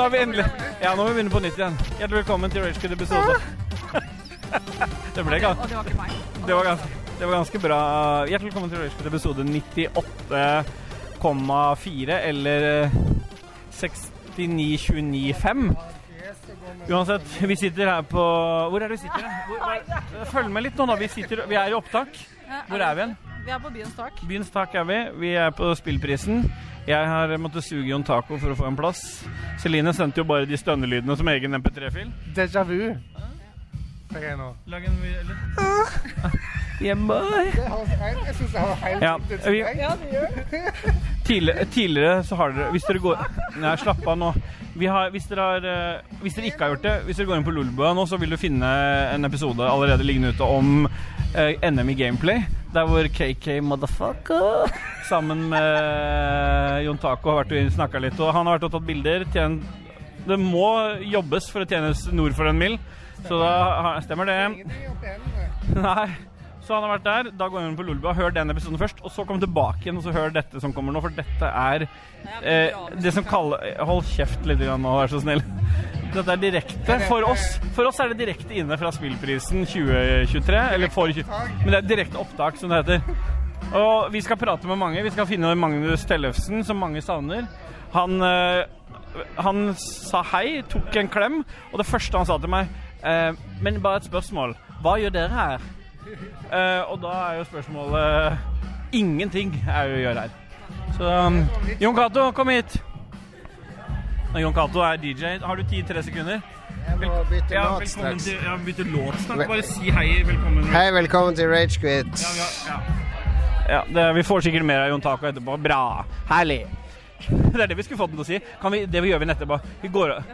har vi endelig Ja, nå må vi begynne på nytt igjen. Hjertelig velkommen til Ragequid episode. Det ble Og ganske, det var ikke meg. det var ganske, det var ganske bra. Hjertelig velkommen til Ragequid episode 98,4 eller eh, 69,29,5. Uansett, vi sitter her på Hvor er det vi sitter? Hvor, hva- følg med litt nå, da. Vi, sitter, vi er i opptak. Hvor er vi hen? Vi er på byens tak. Byens tak er vi. Vi er på Spillprisen. Jeg har måttet suge i en taco for å få en plass. Celine sendte jo bare de stønnelydene som egen MP3-fil. Déjà vu. Fikk jeg nå. Lag en lyd. Hjemme. Det høres helt- Jeg syns det høres helt Ah. Ja, ut vi- det gjør Tidligere, eh, tidligere så har dere Hvis dere går Nei, slapp av nå. Vi har, hvis, dere har, eh, hvis dere ikke har gjort det, hvis dere går inn på Lolbua nå, så vil du finne en episode allerede liggende ute om eh, NM i gameplay. Der hvor KK Motherfucker sammen med Jon Taco har vært og snakka litt. Og han har vært og tatt bilder. Tjent, det må jobbes for å tjenes nord for en mil. Så da har- stemmer det. Ingenting opp i hendene. Nei. Så han har vært der. Da går vi inn på Lolbua. Hør den episoden først, og så kom tilbake igjen og så hør dette som kommer nå, for dette er eh, det som kaller Hold kjeft litt grann nå, vær så snill. Dette er direkte for oss. For oss er det direkte inne fra Spillprisen 2023. Eller for 20... Men det er direkte opptak, som det heter. Og vi skal prate med mange. Vi skal finne Magnus Tellefsen, som mange savner. Han, eh, han sa hei, tok en klem, og det første han sa til meg eh, Men bare et spørsmål. Hva gjør dere her? Eh, og da er jo spørsmålet Ingenting er jo å gjøre her. Så um, Jon Cato, kom hit. Og Jon Cato er DJ. Har du tid-tre sekunder? Jeg må bytte Ja, mat velkommen straks. til ja, bytte låt snart. Bare si hei. Velkommen. Hei, velkommen til Rage Quit. Ja, vi har- ja. ja det, vi får sikkert mer av Jon Taco etterpå. Bra. Herlig. Det er det vi skulle fått den til å si. Kan vi, det vi gjør vi etterpå. Vi går av.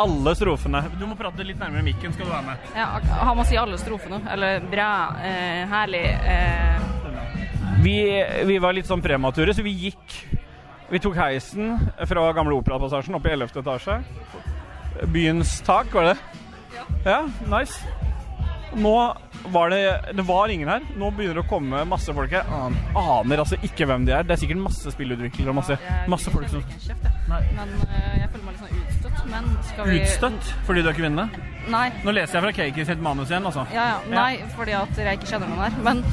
Alle strofene. Du må prate litt nærmere mikken, skal du være med. Ja, ak- han må si alle strofene. Eller bra, eh, herlig eh. Vi, vi var litt sånn premature, så vi gikk Vi tok heisen fra gamle Operapassasjen opp i 11. etasje. Byens tak, var det det? Ja. nice. Nå var det Det var ingen her. Nå begynner det å komme masse folk her. An- Aner altså ikke hvem de er. Det er sikkert masse spillutviklere og masse, Jeg masse folk som liker ikke kjeft, jeg. Nei. Men eh, jeg føler meg litt sånn utstøtt. Men skal vi Utstøtt fordi du er kvinne? Nei. Nå leser jeg fra Keiki sitt manus igjen, altså. Ja, ja. Nei, fordi at jeg ikke kjenner noen her. Men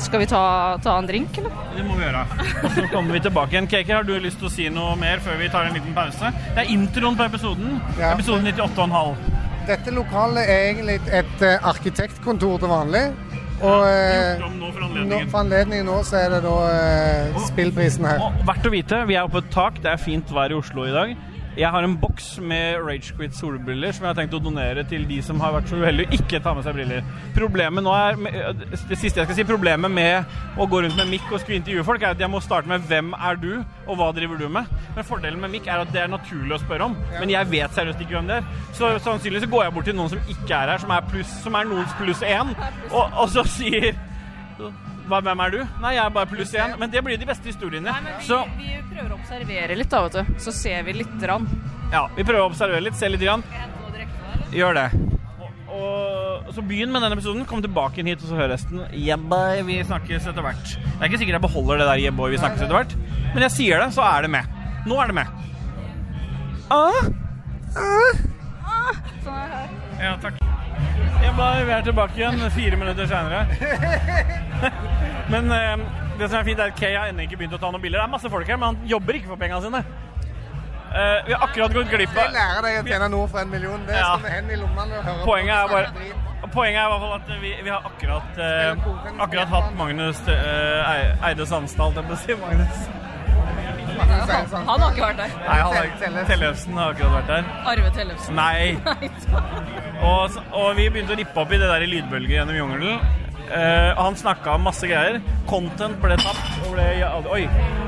skal vi ta, ta en drink, eller? Det må vi gjøre. Og så kommer vi tilbake igjen. Kake, har du lyst til å si noe mer før vi tar en liten pause? Det er introen på episoden. Ja. Episoden 98,5. Dette lokalet er egentlig et eh, arkitektkontor til vanlig. Og eh, Gjort om nå for nå, anledningen. for anledningen nå så er det da eh, spillprisen her. Og verdt å vite, vi er oppe på et tak. Det er fint vær i Oslo i dag. Jeg har en boks med Ragequit solbriller som jeg har tenkt å donere til de som har vært så uheldige å ikke ta med seg briller. Problemet nå er øh, Det siste jeg skal si, problemet med å gå rundt med mikk og skulle intervjue folk, er at jeg må starte med 'Hvem er du?' og 'Hva driver du med?' Men fordelen med mikk er at det er naturlig å spørre om. Men jeg vet seriøst ikke hvem det er. Så sannsynligvis så går jeg bort til noen som ikke er her, som er, pluss, som er noens pluss én, og, og så sier hva, hvem er du? Nei, jeg er bare pluss én. Men det blir de beste historiene. Så vi, prøver å observere litt, da, vet du. Så ser vi lite grann. ja, vi prøver å observere litt, se litt grann. Gjør det. Og, og så begynn med denne episoden. Kom tilbake inn hit og så hør resten. Yeah, boy, vi snakkes etter hvert. Det er ikke sikkert jeg beholder det der yeah, boy, vi snakkes etter hvert. Men jeg sier det, så er det med. Nå er det med. Ah. Ah! Sånn Ja, takk. Ja, bare, vi er tilbake igjen fire minutter senere. Men eh, det som er fint, er at Kay har ennå ikke begynt å ta noen bilder. Det er masse folk her, men han jobber ikke for pengene sine. Eh, vi har akkurat gått glipp Jeg av lærer deg å tjene noe for en million. Det Ja. står med hendene i lommene og hører på. Poenget er bare Poenget er i hvert fall at vi, vi har akkurat eh, Akkurat hatt Magnus eh, Eide Sandstad, holdt jeg på å si. Magnus. Han, Han har ikke vært der. Nei, han har Tellefsen har akkurat vært der. Arve Tellefsen. Nei. Og, s- og vi begynte å rippe opp i det der i lydbølger gjennom jungelen. Eh, han snakka om masse greier. Content ble tapt. Og ble, ja, oi,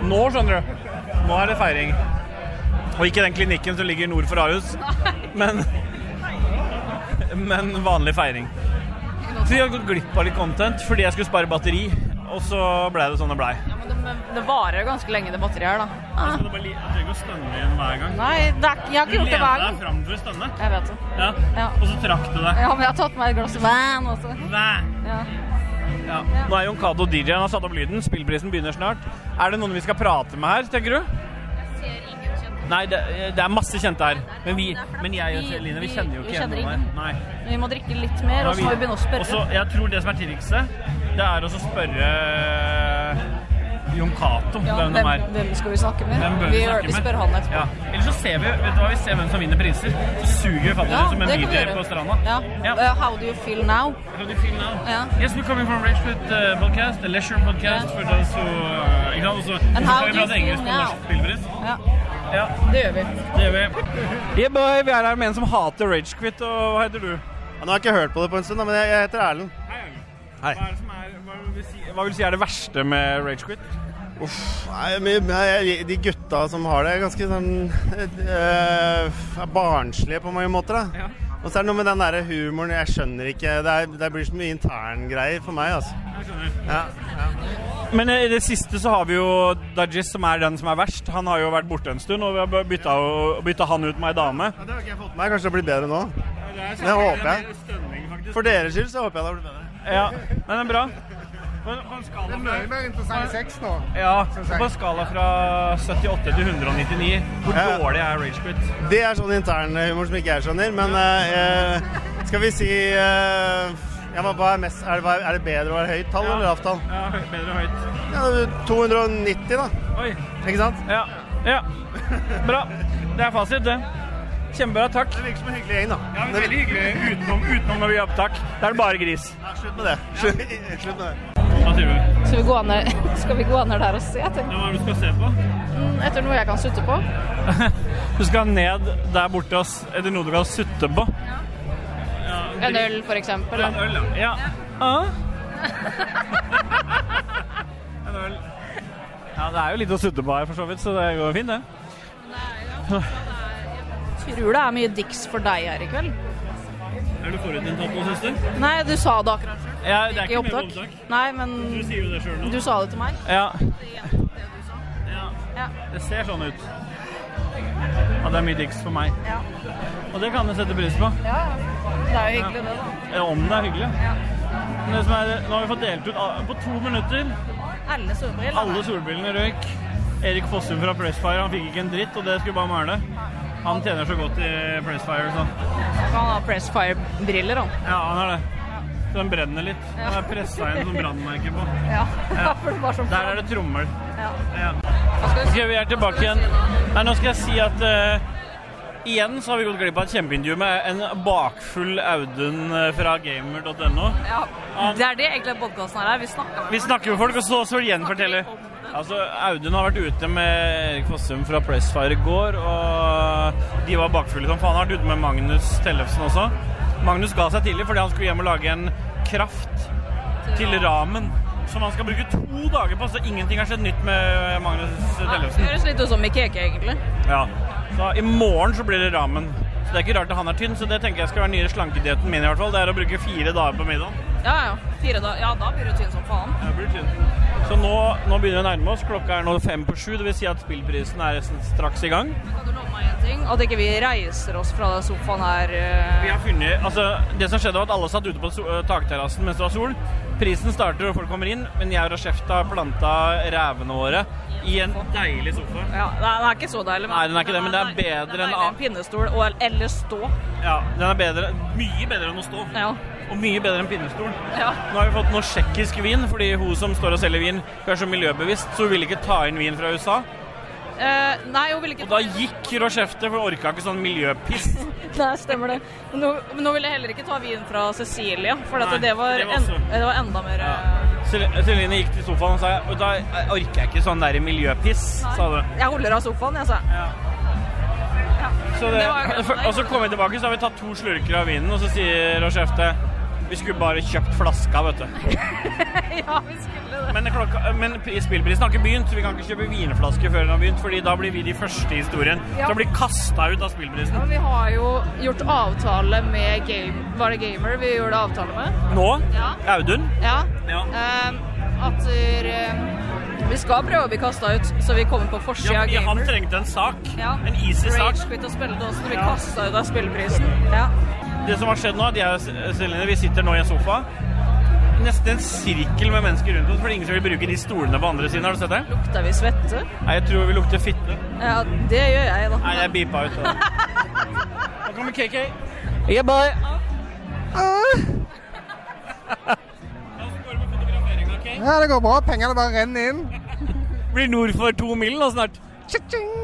nå skjønner du. Nå er det feiring. Og ikke den klinikken som ligger nord for Ahus, men, men vanlig feiring. Så vi har gått glipp av litt content fordi jeg skulle spare batteri, og så ble det sånn det blei. Men det, det varer jo ganske lenge, det batteriet her, da. Jeg trenger å stønne igjen hver gang. Nei, det er, ikke- jeg har ikke gjort det hver gang. fram for å stønne, Jeg vet det. Ja. og så trakk du deg. Ja, men jeg har tatt meg et glass vann også. Ja. Ja. Nå er Jon Cato DJ, han har satt opp lyden. Spillprisen begynner snart. Er det noen vi skal prate med her, tenker du? Ser ingen kjente Nei, det, det er masse kjente her. Men, vi, Det er flaut. men jeg og Vi- Celine, vi vi- kjenner jo vi ikke igjen kjenner noen her. ingen. Nei. Vi må drikke litt mer, og så må vi begynne å spørre. Også, jeg tror det som er tidligste, det er også å spørre eh, Jon Cato Ja, hvem de er. hvem, hvem skal vi snakke med? Hvem bør vi, vi, gjør- snakke med? vi spør han etterpå. Ja. Ellers så ser vi vet du hva, vi ser hvem som vinner priser. Så suger vi fatter Ja, som en det kan vi video gjøre. på stranda. Ja. Ja. Uh, how do you feel now? How do you feel now? Ja. Yes, we're coming from Rachfoot uh, podcast, a leisure podcast Ja. for those who uh, ikke sant, også- And how vi do you prater feel engelsk på now? norsk spillpris. Ja, Ja, det gjør vi. det gjør vi. Yeah, boy, vi er her med en som hater Ragequit, og hva heter du? Ja, Nå har jeg ikke hørt på det på en stund, da, men jeg, jeg heter Erlend. Hei. Hva, er det som er, hva, vil du si, hva vil du si er det verste med Ragequit? Uff, nei, men- men jeg- de gutta som har det, er ganske sånn eh, er barnslige på mange måter. da. Ja. Og så er det noe med den der humoren jeg skjønner ikke. Det, er, det blir så mye interngreier for meg. altså. Ja, ja. Men eh, i det siste så har vi jo Dajis, som er den som er verst. Han har jo vært borte en stund, og vi har bytta, bytta han ut med ei dame. det har ikke jeg fått med meg. Kanskje det blir bedre nå? Det håper jeg. For deres skyld så håper jeg det blir bedre. Ja, men det er bra. På en- på en skala Det er fra- mye mer interessant sex nå. Ja, Synes jeg. på en skala fra 78 til 199, hvor Ja. dårlig er Ragequit? Det er sånn internhumor som ikke jeg skjønner, men eh, eh, skal vi si eh, ja, hva- hva er, mest, er, det, hva- er det bedre å være høyt tall eller lavt tall? Ja, høy- bedre høyt. Ja, 290, da. Oi. Ikke sant? Ja. ja. Bra. Det er fasit, det. Kjempebra. Takk. Det virker som en hyggelig gjeng, da. Ja, men Veldig hyggelig utenom, utenom når vi gjør opptak. Da er det bare gris. Ja, Slutt med det. Slutt, slutt med det. Hva sier du? Skal vi gå ned, skal vi gå ned der og se etter, Hva er det du skal se på? Mm, etter noe jeg kan sutte på? Du skal ned der borte og s- etter noe du kan sutte på. En øl, for eksempel. Ja, øl, ja. ja. Ah. en øl. Ja, det er jo litt å sutte på her, for så vidt, så det går fint, det. sånn Tror det er mye dicks for deg her i kveld. Er du forutinntatt nå, søster? Nei, du sa det akkurat selv. Ja, det er I ikke mer opptak. opptak. Nei, men sier jo det sjøl du sa det til meg. Ja. Ja. Det ser sånn ut. Ja, det er mye diggs for meg. Ja. Og det kan jeg sette pris på. Ja, det er jo hyggelig det, da. Eh, Om det er hyggelig. Men det som er, nå har vi fått delt ut ah, på to minutter Alle solbriller. Alle solbrillene røyk. Erik Fossum fra Pressfire han fikk ikke en dritt, og det skulle bare mæle. Han tjener så godt i Pressfire, så. Han har Pressfire-briller, han. Ja, han er det. Så den brenner litt. Den er pressa inn som brannmerke på. Ja. For det var sånn Der er det trommel. Ja. Ja. Hva skal du Ok, si? vi er tilbake igjen. Nei, nå skal jeg si at eh, igjen så har vi gått glipp av et kjempeintervju med en bakfull Audun eh, fra gamer.no. Ja. Det er det egentlig podkasten her er. Vi snakker med Vi snakker med folk, og så, så gjenforteller. Altså, Audun har vært ute med Erik Fossum fra Pressfire i går, og de var bakfulle som faen. Han har vært ute med Magnus Tellefsen også. Magnus ga seg tidlig fordi han skulle hjem og lage en kraft til ramen. Som han skal bruke to dager på, så ingenting har skjedd nytt med Magnus Det Tellefsen. høres litt ut som Mikeke, egentlig. Ja. Så i morgen så blir det ramen. Så det er ikke rart at han er tynn, så det tenker jeg skal være den nye slankedietten min i hvert fall. Det er å bruke fire dager på middag. Ja, ja. Fire da Ja, da blir du tynn som faen. Ja, blir tynn. Så nå, nå begynner vi å nærme oss. Klokka er nå fem på sju. Det vil si at spillprisen er nesten straks i gang. Men Kan du love meg en ting? At ikke vi reiser oss fra den sofaen her eh, Vi har funnet, altså, det som skjedde var at alle satt ute på so eh, takterrassen mens det var sol. Prisen starter og folk kommer inn, men jeg og Rashefta har planta rævene våre i en deilig sofa. Ja, nei, den er ikke så deilig. Nei, den er ikke det, men det er bedre den er enn a- deilig en pinnestol og, eller stå. Ja, den er bedre, mye bedre enn å stå. Ja. Og mye bedre enn pinnestol. ja. Nå har vi fått noe tsjekkisk vin, fordi hun som står og selger vin, hun er så miljøbevisst, så hun vil ikke ta inn vin fra USA. Eh, nei, hun vil Og ikke da gikk Rochefte, for hun orka ikke sånn miljøpiss. Nei, stemmer det. Men Nå, men nå vil jeg heller ikke ta vin fra Cecilia, for at Nei, det, var det var en, også- det var enda mer eh, Cel- Celine gikk til sofaen og sa Og da orker jeg ikke sånn der miljøpiss, sa du. Jeg holder av sofaen, jeg, sa jeg. Ja. Så det, Det var jo greit. og så kom vi tilbake, så har vi tatt to slurker av vinen, og så sier Rochefte Vi skulle bare kjøpt flaska, vet du. ja, vi skulle det. Men, klokka, men pri- spillprisen har ikke begynt, så vi kan ikke kjøpe vinflasker før den har begynt, Fordi da blir vi de første i historien Ja. til å bli kasta ut av spillprisen. Men vi har jo gjort avtale med game, Var det Gamer vi gjorde avtale med? Nå, Ja. Audun Ja. Ja. Ehm, at eh, vi skal prøve å bli kasta ut, så vi kommer på forsida ja, av fordi han Gamer. trengte en sak. Ja. En easy sak. Rage quit og spille til oss når vi Ja. kasta ut av spilleprisen. Ja. eh, Det som har skjedd nå, at jeg og Celine vi sitter nå i en sofa. nesten en sirkel med mennesker rundt oss, for det er ingen som vil bruke de stolene på andre siden. Har du sett det? Lukter vi svette? Nei, jeg tror vi lukter fitte. Ja, det gjør jeg, da. Nei, jeg beepa ut. det. Nå kommer KK. Yeah, boy. Ja, det går bra. Pengene bare renner inn. Blir nord for to mil nå snart. Tja-tjing!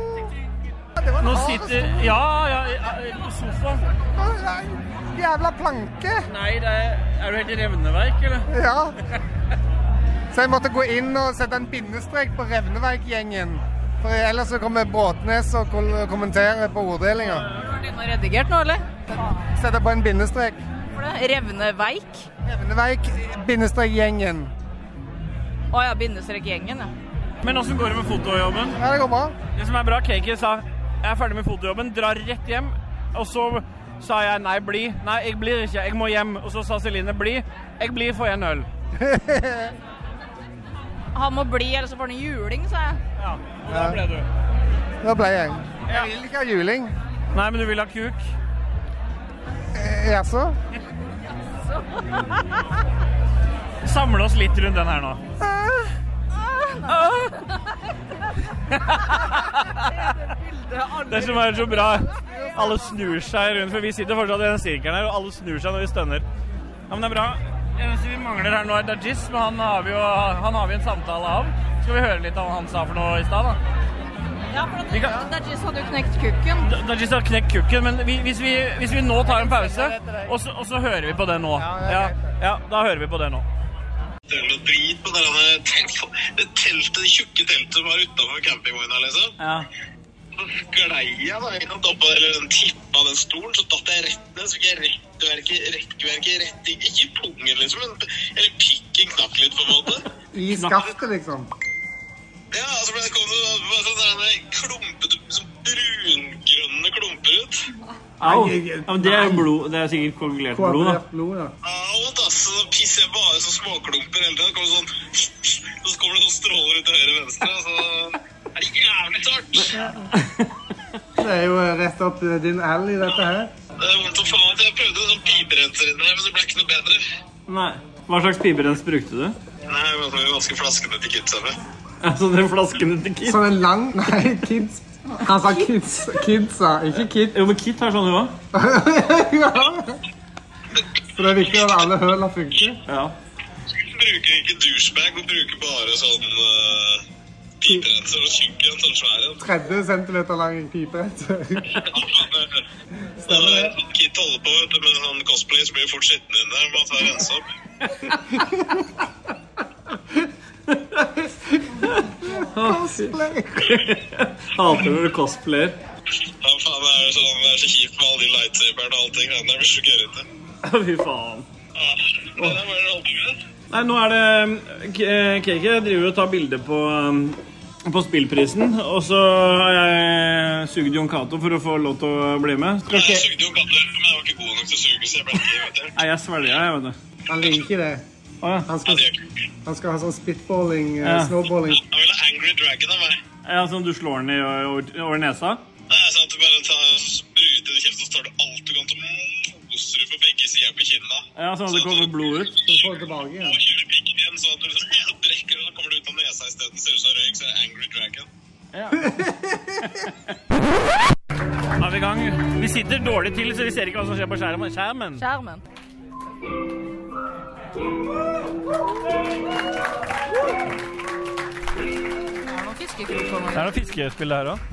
Ja, det var en Nå hard sitter Ja, ja, ja sofa. stol. Ja, en Jævla planke! Nei, det er, er du helt i revneverk, eller? Ja. Så jeg måtte gå inn og sette en bindestrek på Revneveik-gjengen. For ellers så kommer Bråtnes og kol- kommenterer på orddelinga. Har du noe redigert nå, eller? Setter på en bindestrek. For det Revne Veik. Revneveik-gjengen. Å ja, bindestrek gjengen, ja. Men åssen går det med fotojobben? Ja, det går bra. Det som er bra, KK sa jeg er ferdig med fotojobben, drar rett hjem. Og så sa jeg nei, bli. Nei, jeg blir ikke, jeg må hjem. Og så sa Celine bli. Jeg blir, får jeg en øl. Han må bli, ellers så får han juling, sa jeg. Ja, og da ble du. Da ble jeg. Ja. Jeg vil ikke ha juling. Nei, men du vil ha kuk. Eh, Jaså? Samle oss litt rundt den her nå. Ah! Det som er så bra, alle snur seg rundt, for vi sitter fortsatt i den sirkelen her, og alle snur seg når vi stønner. Ja, men det er bra. Det eneste vi mangler her nå er Dajis, men han har vi jo han har vi en samtale av. Skal vi høre litt av hva han sa for noe i stad, da? Ja, for Vi det, kan- det er just hadde jo knekt kukken. Da- Dajis har knekt kukken, men vi, hvis, vi, hvis vi nå tar en pause, og så, og så hører vi på det nå. Ja, det er Ja, greit, det. ja, da hører vi på det nå. Det er noe drit på det der telefo- det teltet, det tjukke teltet som var utenfor campingvogna, liksom. Ja. Så sklei jeg da gjennom toppen, eller den tippa av den stolen, så datt jeg rett ned. Så fikk jeg rekkverket, rekkverket, rett i Ikke i pungen, liksom, men eller pikken knakk litt, på en måte. I skaftet, liksom. Ja, og så ble det kom det bare sånne der klumpete, sånn brungrønne klumper ut. Au! det er blod. Det er sikkert koagulert Blod, ja. Au, da, så da pisser jeg bare som småklumper hele tiden. Det kommer sånn, og så kommer det noen stråler ut til høyre og venstre, og så er det jævlig tørt. Det er jo eh, rett opp din alley, dette her. Det er vondt å få meg til. Jeg prøvde en sånn piperenser inn der, men det ble ikke noe bedre. Nei. Hva slags piberens brukte du? Nei, men så må vi vaske flaskene til kidsa med. Altså den flasken til Kit? Sånn en lang Nei, kids. Han sa kids. Kidsa, ikke kid. Jo, men Kit har sånn hun òg. ja. Så det er viktig at alle høla funker. Ja. Hun bruker ikke douchebag, hun bruker bare sånn eh, piperenser og tjukk en, sånn svær en. 30 cm lang pipe. Så det er sånn Kid holder på vet du, med sånn cosplay, så blir det fort skitten inn der. Bare ta og rense opp. Hater når du cosplayer. Ja, faen, det er jo sånn, det er så kjipt med alle de lightsaberne og allting. ja, Det blir så gørrete. Fy faen. Ja, det er bare å holde på med. Nei, nå er det K- eh, KK driver og tar bilde på um, på Spillprisen, og så har jeg eh, sugd Jon Cato for å få lov til å bli med. Skal Jeg ikke- sugde jo katter, men jeg var ikke god nok til å suge, så jeg ble ikke invitert. Nei, jeg svelger, jeg, vet du. Han liker det. Å ja. Han Ja, skal, det gjør ikke. han skal ha sånn spitballing, eh, Ja. snowballing. Jeg vil ha Angry Dragon av meg. ja. Sånn du slår den i over, over nesa? Det er sånn at du bare tar spruter i kjeften, og så tar du alt du kan, så moser du på begge sider på kinna. Ja, sånn at det kommer blod ut? Så får du tilbake Og igjen. kjører pikken igjen, sånn at du liksom eh, drikker, og så kommer du ut av nesa isteden. Ser ut som røyk, så er det Angry Dragon. Da er vi i gang. Vi sitter dårlig til, så vi ser ikke hva som skjer på skjermen. skjermen. Skjermen. Det er noen fiskekrok på meg. Det er noe fiskespill det her òg.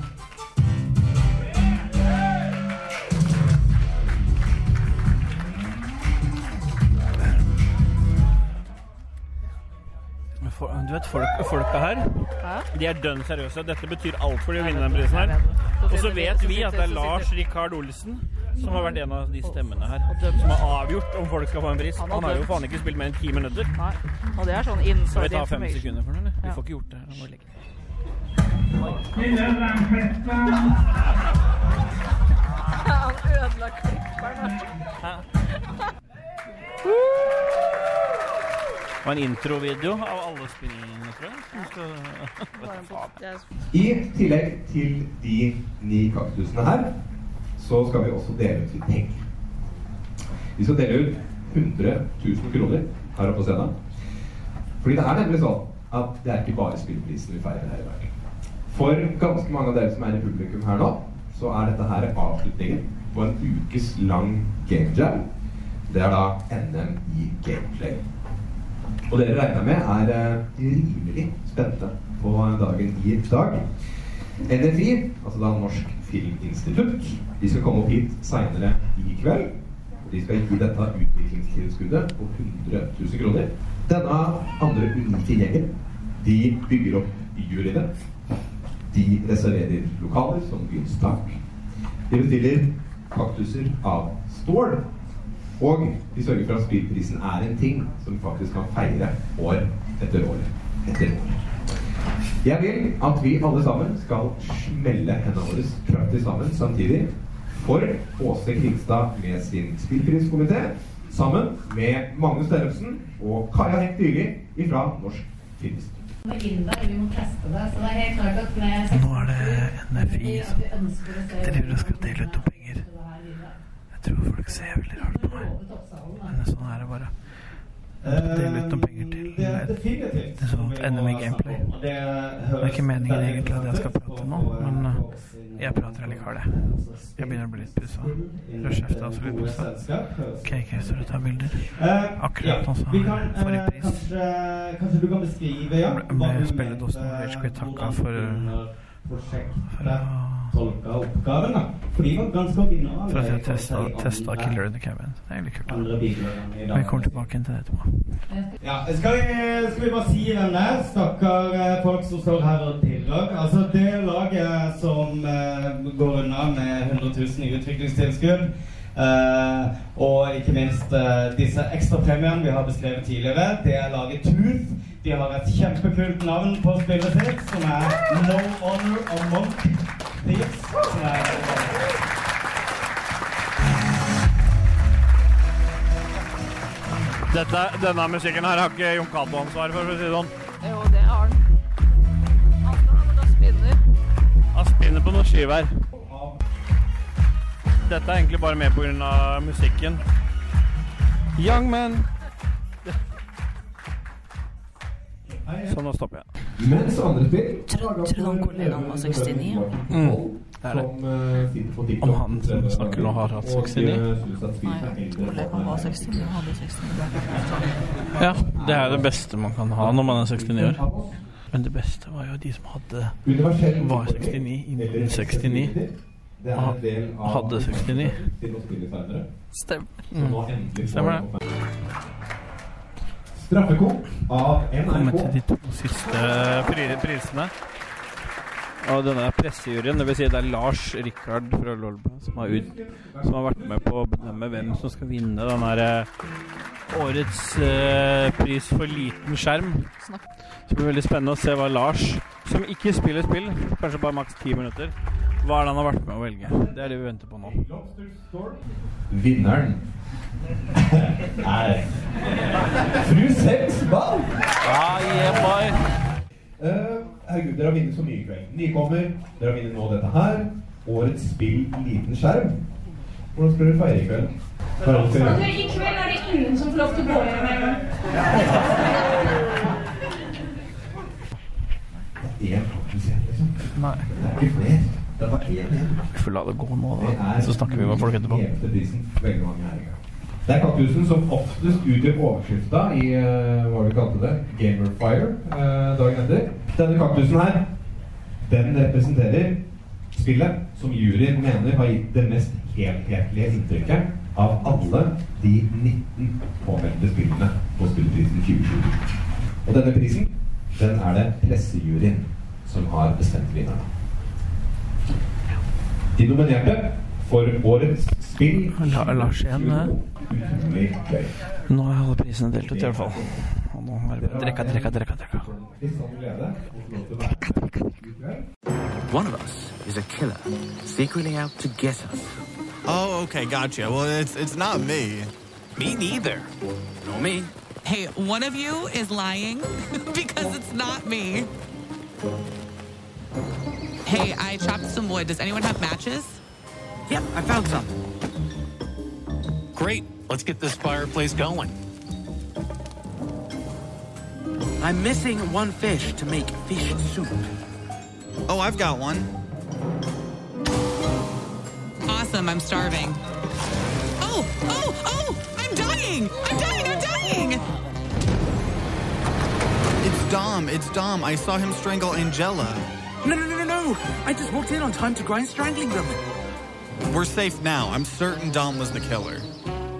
Du vet, folk, folka her, Hæ? de er dønn seriøse. Dette betyr alt for de å vinne den prisen her. Og så vet vi at det er Lars Rikard Olsen som har vært en av de stemmene her. Som har avgjort om folk skal få en pris. Han har Han har jo dømt. faen ikke spilt mer enn ti minutter. Nei. Og det er sånn Skal inside vi ta fem information. sekunder for den, eller? Vi Ja. får ikke gjort det her. nå, Legg. Han ødela klipperen. Det var en introvideo av alle spillene, tror jeg. Skal... I tillegg til de ni kaktusene her, så skal vi også dele ut litt penger. Vi skal dele ut 100 000 kroner her oppe på scenen. Fordi det er nemlig sånn at det er ikke bare spillprisen vi feirer her i dag. For ganske mange av dere som er i publikum her nå, så er dette her avslutningen på en ukes lang game jam. Det er da NM i gameplay. Og dere regner med er eh, rimelig spente på dagen i dag. NFI, altså da Norsk Filminstitutt, de skal komme opp hit seinere i kveld. De skal gi dette utviklingstilskuddet på 100 000 kroner. Denne andre unike gjengen de bygger opp juryene. De reserverer lokaler som byens tak. De bestiller kaktuser av stål. Og de sørger for at spillprisen er en ting som vi faktisk kan feire år etter år etter år. Jeg vil at vi alle sammen skal smelle hendene våre kraftig sammen samtidig for Åse Krigstad med sin spillpriskomité sammen med Magnus Tellefsen og Kaja Hekt Dyrli fra Norsk Filminstitutt. Melinda, vi må teste det. Så det er helt klart at med Nå er det NFI som driver og skal dele ut noe penger. Jeg tror folk ser veldig rart på meg. Men sånn er det bare. Dele ut noen penger til et sånt NM i gameplay. Det er ikke meningen egentlig at jeg skal prate nå, men eh, jeg prater allikevel, jeg. Jeg begynner å bli litt pussa. Rødskjeftet er også litt pussa. KK står og tar bilder. Eh, Akkurat nå så har jeg forrige pris. eh, Kanskje du kan beskrive ja, Med spilledåsen Rage Quit takka for eh, for å- tolka oppgaven. da. For de var ganske originale. for at jeg testa, i testa andre- Killer in the Cabin. Det er egentlig kult. da. andre bidragene i dag. Vi kommer tilbake til det etterpå. Ja, skal vi, skal vi bare si hvem det er? Stakkar eh, folk som står her og pirrer. Altså, det laget som eh, går unna med 100 000 i utviklingstilskudd, eh, og ikke minst eh, disse ekstrapremiene vi har beskrevet tidligere, det er laget Tooth. De har et kjempekult navn på spillet sitt, som er No Honor Among Thieves. Som er Dette, denne musikken her har ikke Jon Cato ansvar for, for å si det sånn. Jo, det har han. Han skal ha med å spinne. Han spinner på noen skiver. Dette er egentlig bare med pga. musikken. Young men. Så Sånn, nå stopper jeg. Mens andre spill tror han kollegaen var 69? Mm. det er det. Om han som snakker nå har eh, hatt 69? Kollegaen var 69, og hadde 69. Ja, det er jo det beste man kan ha når man er 69 år. Men det beste var jo de som hadde Var 69 innen 69. Ha- hadde 69. Stemmer. Stemmer det. Straffekonk av Kommet NRK. til de to siste Eh, pri- prisene. Og denne er pressejuryen, dvs. Si det er Lars Rikard fra Lolba som, har ut- som har vært med på å bedømme hvem som skal vinne den her eh, årets eh, pris for liten skjerm. Snakk. Så det blir veldig spennende å se hva Lars, som ikke spiller spill, kanskje bare maks ti minutter, hva er det han har vært med å velge? Det er det vi venter på nå. Vinneren er fru Sexball. Ah, yeah, boy. Eh, herregud, dere har vunnet så mye i kveld. Nykommer, dere har vunnet nå dette her. Årets spill liten skjerm. Hvordan skal dere feire i kveld? Hva er det dere skal gjøre? I kveld er det ingen som får lov til å gå hjem en gang. Én kaktus igjen, liksom. Nei, Det er ikke flere. Det er bare én igjen. vi får la det gå nå, Det da. er Så snakker vi med folk etterpå. den gjeveste prisen veldig mange her i gang. Det er kaktusen som oftest utgjør overskrifta i eh, hva vi kalte det, Gamerfire eh, dagen etter. Denne kaktusen her, den representerer spillet som juryen mener har gitt det mest helhetlige inntrykket av alle de 19 påmeldte spillene på Spillprisen 2020. Og denne prisen, den er det pressejuryen som har bestemt vinneren. De nominerte for årets spill La, Lars igjen. eh. Utrolig gøy. Nå er alle prisene delt ut, i hvert fall. Og nå er det bare drikka, drikka, drikka. drikka. Litt sånn glede. å få lov til å være med i kveld. One of us is a killer, secretly out to get us. Oh, okay, gotcha. Well, it's it's not me. Me neither. No me. Hey, one of you is lying because it's not me. Hey, I chopped some wood. Does anyone have matches? Yep, I found some. Great. Let's get this fireplace going. I'm missing one fish to make fish soup. Oh, I've got one. Awesome, I'm starving. Oh, oh, oh! I'm dying! I'm dying! I'm dying! It's Dom. It's Dom. I saw him strangle Angela. No, no, no, no, no! I just walked in on time to grind strangling them. We're safe now. I'm certain Dom was the killer.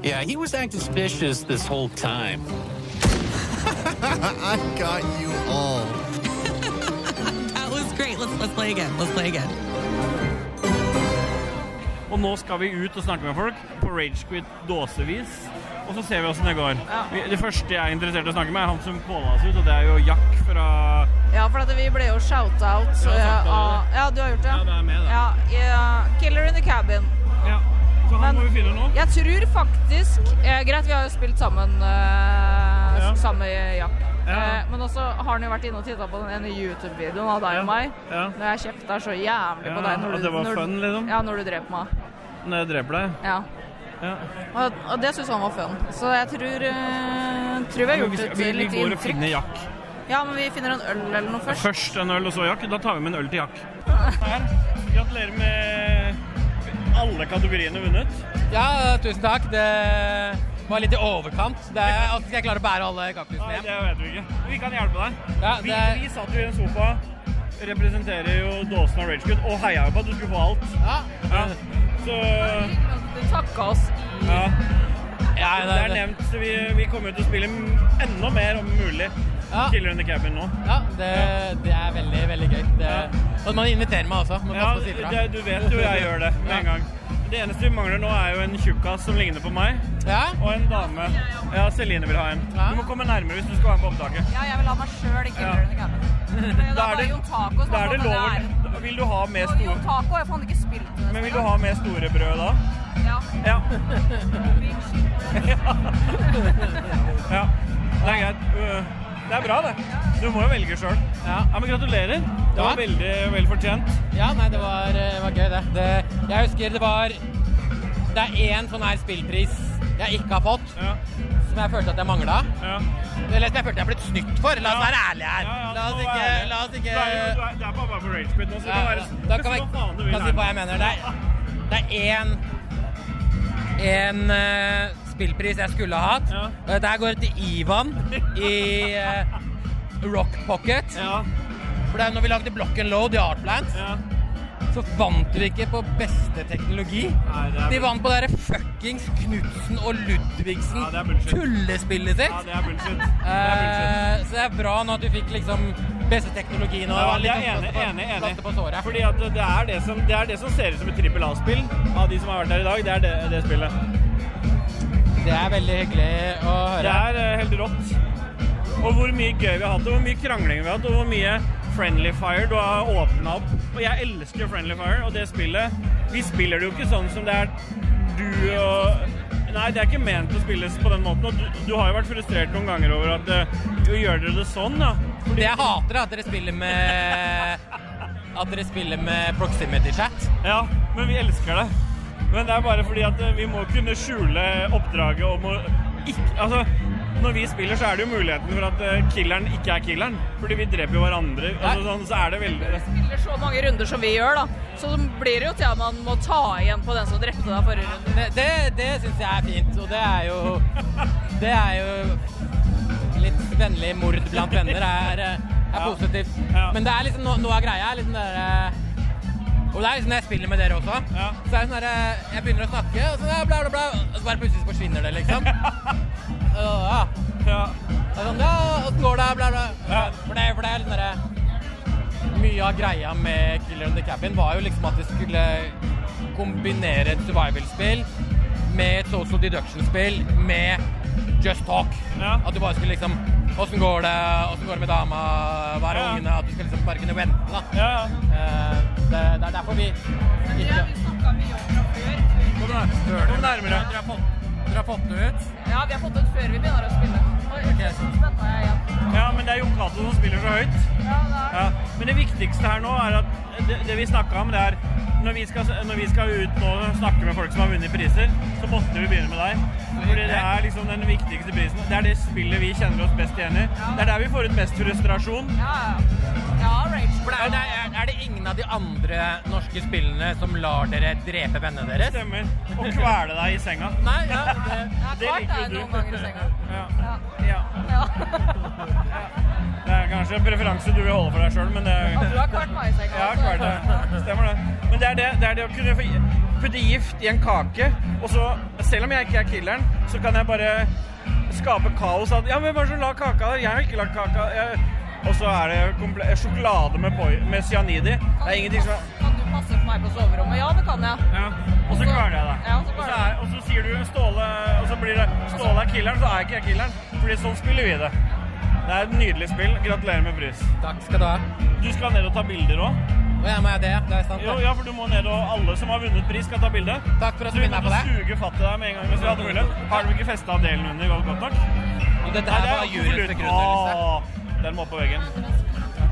Yeah, he was acting suspicious this whole time. I got you all. That was great. Let's let's play again. Let's play again. Og nå skal vi ut og snakke med folk på Ragequit dåsevis. Og så ser vi åssen det går. Vi- Det første jeg er interessert i å snakke med, er han som kåla oss ut, og det er jo Jack fra Ja, for at vi ble jo shout-out. Jeg har sagt det eh, allerede. av- Ja, du har gjort det? Ja, det er med, det. Ja, ja, Killer in the cabin. Ja, så han må vi finne nå. Jeg tror faktisk eh, Greit, vi har jo spilt sammen eh, Ja. samme Jack. Ja. Eh, men også har han jo vært inne og titta på den ene YouTube-videoen av deg og meg. Når jeg kjefta så jævlig Ja, på deg når at du, det var når, fun, liksom? ja, når du drep meg. Når jeg dreper deg. Ja. Ja. Og, og det syns han var fun. Så jeg tror, eh, tror vi har Ja, men gjort vi- det vi- til litt Vi går og inntrykk. finner Jack. Ja, men vi finner en øl eller noe først. Først en øl, og så Jack. Da tar vi med en øl til Jack. Gratulerer med alle kategoriene vunnet. Ja, tusen takk. Det var litt i overkant. Det er, altså, skal jeg klare å bære alle kaktusene hjem? Det vet vi ikke. Vi kan hjelpe deg. Ja, vi, det er- vi satt jo i en sofa, representerer jo dåsen av Ragegood, og heia jo på at du skulle få alt. Ja. Så Du takka oss i ja. det- det er nevnt, så vi, vi kommer jo til å spille m- enda mer om mulig Killer in the Cabin nå. Ja, det, det er veldig, veldig gøy. Det, og man inviterer meg også. Man Ja, passer på å si fra. det, du vet jo jeg gjør det med en gang. Det eneste vi mangler nå er jo en tjukkas som ligner på meg, og en dame. Ja, Celine vil ha en. Du må komme nærmere hvis du skal være med på opptaket. Ja, jeg vil ha meg sjøl i Killer in the cabin. Men Da Da er er det det- Jon Taco som da er har det fått den lov å- æren. da- Vil du ha med store Jon Taco har faen ikke spilt det. Men vil du ha med store brød da? Ja. Ja. Ja. Det er greit. Øh, Det er bra, det. Du må jo velge sjøl. Ja. men gratulerer. Det var veldig vel fortjent. Ja, nei, det var, eh, var gøy, det. det. Jeg husker det var Det er én sånn her spillpris jeg ikke har fått, som jeg følte at jeg mangla. Eller som jeg følte jeg ble snytt for. La oss være ærlige her. La oss ikke, la oss ikke Det er, jo- du er- det er bare på rage quit nå, så det kan Ja, være da kan jeg, kan jeg si hva jeg mener. Det er, det er en, en eh, spillpris jeg skulle ha hatt. Og Dette her går til Ivan i eh, Rock Pocket. For det er når vi lagde Block and Load i Artplant, så vant vi ikke på beste teknologi. er De vant på det derre fuckings Knutsen og Ludvigsen tullespillet sitt. Ja, det er bullshit. Eh, så det er bra nå at du fikk liksom beste teknologi nå. Ja, Det var jeg litt er sånn enig, plaster på- enig, plaster på enig. såret. Fordi at det er det som, det er det som ser ut som et trippel A-spill av de som har vært her i dag. Det er det, det spillet. Det er veldig hyggelig å høre. Det er eh, helt rått. Og hvor mye gøy vi har hatt, og hvor mye krangling vi har hatt, og hvor mye Friendly Fire du har åpna opp. Og jeg elsker Friendly Fire, og det spillet Vi spiller det jo ikke sånn som det er du og Nei, det er ikke ment å spilles på den måten. Og du, du har jo vært frustrert noen ganger over at eh, jo, gjør dere det sånn, da? Det jeg hater, er at dere spiller med At dere spiller med proximity chat. Ja, men vi elsker det. Men det er bare fordi at eh, vi må kunne skjule oppdraget om å ikke Altså, når vi spiller, så er det jo muligheten for at eh, killeren ikke er killeren. Fordi vi dreper jo hverandre. Altså, sånn, så er det veldig spiller så mange runder som vi gjør, da. Så blir det jo til at man må ta igjen på den som drepte deg forrige runde. Det, det, det syns jeg er fint, og det er jo Det er jo litt vennlig mord blant venner er, eh, er positivt. Men det er liksom no- noe av greia er liksom det derre Og det er liksom når jeg spiller med dere også. Så er det sånn derre Jeg begynner å snakke, og så bla, bla, bla, og så bare plutselig forsvinner det, liksom. Og, ja. Det er sånn, ja, åssen går det, bla, bla. For det, for det er litt derre Mye av greia med Killer in the Cabin var jo liksom at vi skulle kombinere et survival-spill med et social deduction-spill med just talk. At du bare skulle liksom Åssen går det? Åssen går det med dama? Hva er Ja, ja. ungene? At du skal liksom bare kunne vente, da. Ja, Eh, det, det er derfor vi ikke Kom nærmere. Dere har fått det ut? Ja, vi har fått den før vi begynner å spille. Oi, spennende, jeg igjen. Ja, men det er Jon Cato som spiller så høyt. Ja, det er Ja. Men det viktigste her nå er at det, det vi snakka om, det er når vi, skal, når vi skal ut nå og snakke med folk som har vunnet priser, så måtte vi begynne med deg. Fordi det er liksom den viktigste prisen. Det er det spillet vi kjenner oss best igjen i. Det er der vi får ut mest frustrasjon. Ja, For det er, det er, er det ingen av de andre norske spillene som lar dere drepe vennene Det deres? stemmer. Å kvele deg i senga. Nei, ja, det, Det liker jo du. Ja. Det er kanskje en preferanse du vil holde for deg sjøl, men det Du har kvart meg i senga. Ja, kvart det. Stemmer det. Men det er det, det er det å kunne få putte gift i en kake, og så, selv om jeg ikke er killeren, så kan jeg bare skape kaos. At, ja, hvem er det som la kaka der? Jeg har ikke lagt kaka. Jeg... Og så er det komple sjokolade med, poi- med cyanid i. Det er ingenting som er Kan du passe på meg på soverommet? Ja, det kan jeg. Og så kveler jeg deg. Ja, Og så, er, og så sier du Ståle Og så blir det Ståle er killeren, så er ikke jeg killeren. Fordi sånn spiller vi det. Det er et nydelig spill. Gratulerer med pris. Takk skal du ha. Du skal ned og ta bilder òg. Ja, må jeg det? Det er sant. Jo, ja, for du må ned, og alle som har vunnet pris, skal ta bilde. Takk for at så du vi minner måtte meg på suge fatt i deg med en gang hvis vi hadde mulighet. Har du ikke festa delen under godt godt nok? dette her var juryens begrunnelse. Åh, Den må på veggen.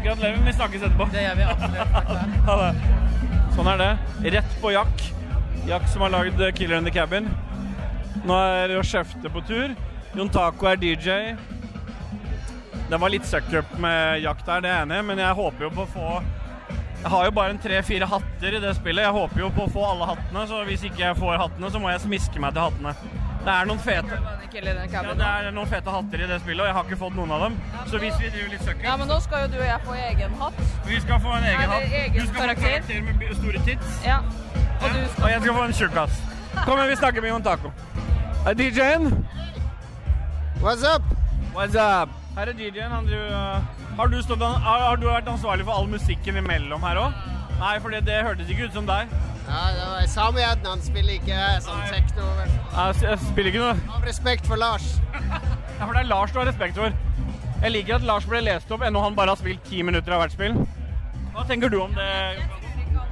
Gratulerer. Vi snakkes etterpå. Det gjør vi absolutt. ha det. Sånn er det. Rett på Jack. Jack som har lagd eh, 'Killer in the Cabin'. Nå er jo Skjefte på tur. Jon Taco er DJ. Den var litt suck-up med Jack der, det er jeg enig i, men jeg håper jo på å få jeg har jo bare en tre-fire hatter i det spillet. Jeg håper jo på å få alle hattene, så hvis ikke jeg får hattene, så må jeg smiske meg til hattene. Det er noen fete ja, det er noen fete hatter i det spillet, og jeg har ikke fått noen av dem. Så hvis vi driver litt søkker Ja, men nå skal jo du og jeg få egen hatt. Vi skal få en Er det egen hatt. Du egen skal få karakter? karakter med b- store tits. Ja. Og, jeg skal få en tjukk hatt. Kom igjen, vi snakker med Jon Taco. Er DJ-en? What's up? What's up? Her er DJ-en. Han driver uh, har, du stått, an- har, har du vært ansvarlig for all musikken imellom her òg? Nei, for det, det hørtes ikke ut som deg. Ja, det var Sami Adnan spiller ikke sånn tekno. vel. Jeg, s- jeg spiller ikke noe. Av respekt for Lars. Ja, for det er Lars du har respekt for. Jeg liker at Lars ble lest opp ennå han bare har spilt ti minutter av hvert spill. Hva tenker du om det?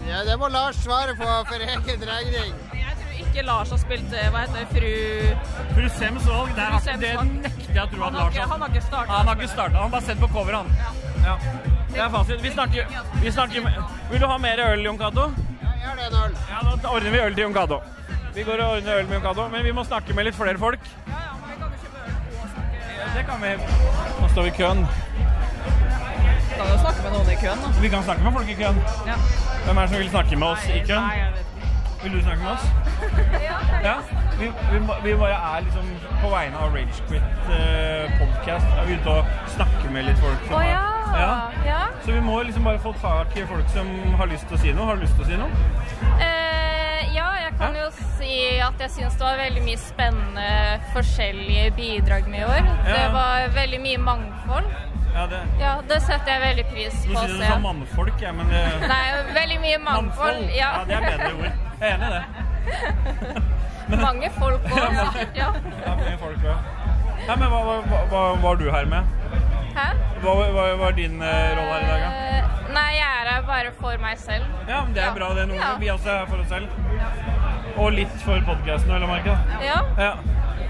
Ja, det må Lars svare på for egen regning. Jeg tror ikke Lars har spilt eh, Hva heter det? Fru Fru Sems valg, der har Fru ikke det Sems valg. nekter jeg å tro Han at har Lars ikke- han har ikke startet. Han har ikke startet, han har bare sett på cover, han. Ja. Det er fasit. Vi snakker, vi snakker med Vil du ha mer øl, Jon Cato? Ja, gjør det, Nål. Ja, da ordner vi øl til Jon Cato. Vi går og ordner øl med Jon Cato, men vi må snakke med litt flere folk. Det kan vi. Nå står vi i køen. Kan jo snakke med noen i køen, da. Vi kan snakke med folk i køen. Ja. Hvem er det som vil snakke med oss i køen? Nei, jeg vet ikke. Vil du snakke med oss? Ja. Vi, vi, må- vi bare er liksom på vegne av Ragequit eh, podcast. Er vi ute og snakker med litt folk? som Å har- ja. ja. Så vi må liksom bare få tak i folk som har lyst til å si noe. Har du lyst til å si noe? Eh, ja, jeg kan jo si at jeg syns det var veldig mye spennende forskjellige bidrag med i år. Det Ja. var veldig mye mangfold. Ja, det... Ja, det setter jeg veldig pris Nå på å sier du se. sånn mannfolk, jeg, men det... Nei, veldig mye Mannfold. mangfold. Ja. eh, Ja, det er bedre ord. Jeg er enig i det. Mange folk Ja, òg, mange- sikkert. Ja. Ja, mye folk, ja. Nei, men hva, hva- hva, hva var du her med? Hæ? Hva, hva, hva er din eh, rolle her i dag, da? Eh, Nei, jeg er her bare for meg selv. Ja, men det er bra det. Noen Ja. vi også er her for oss selv. Og litt for podkasten, vel å merke. da. Ja. ja.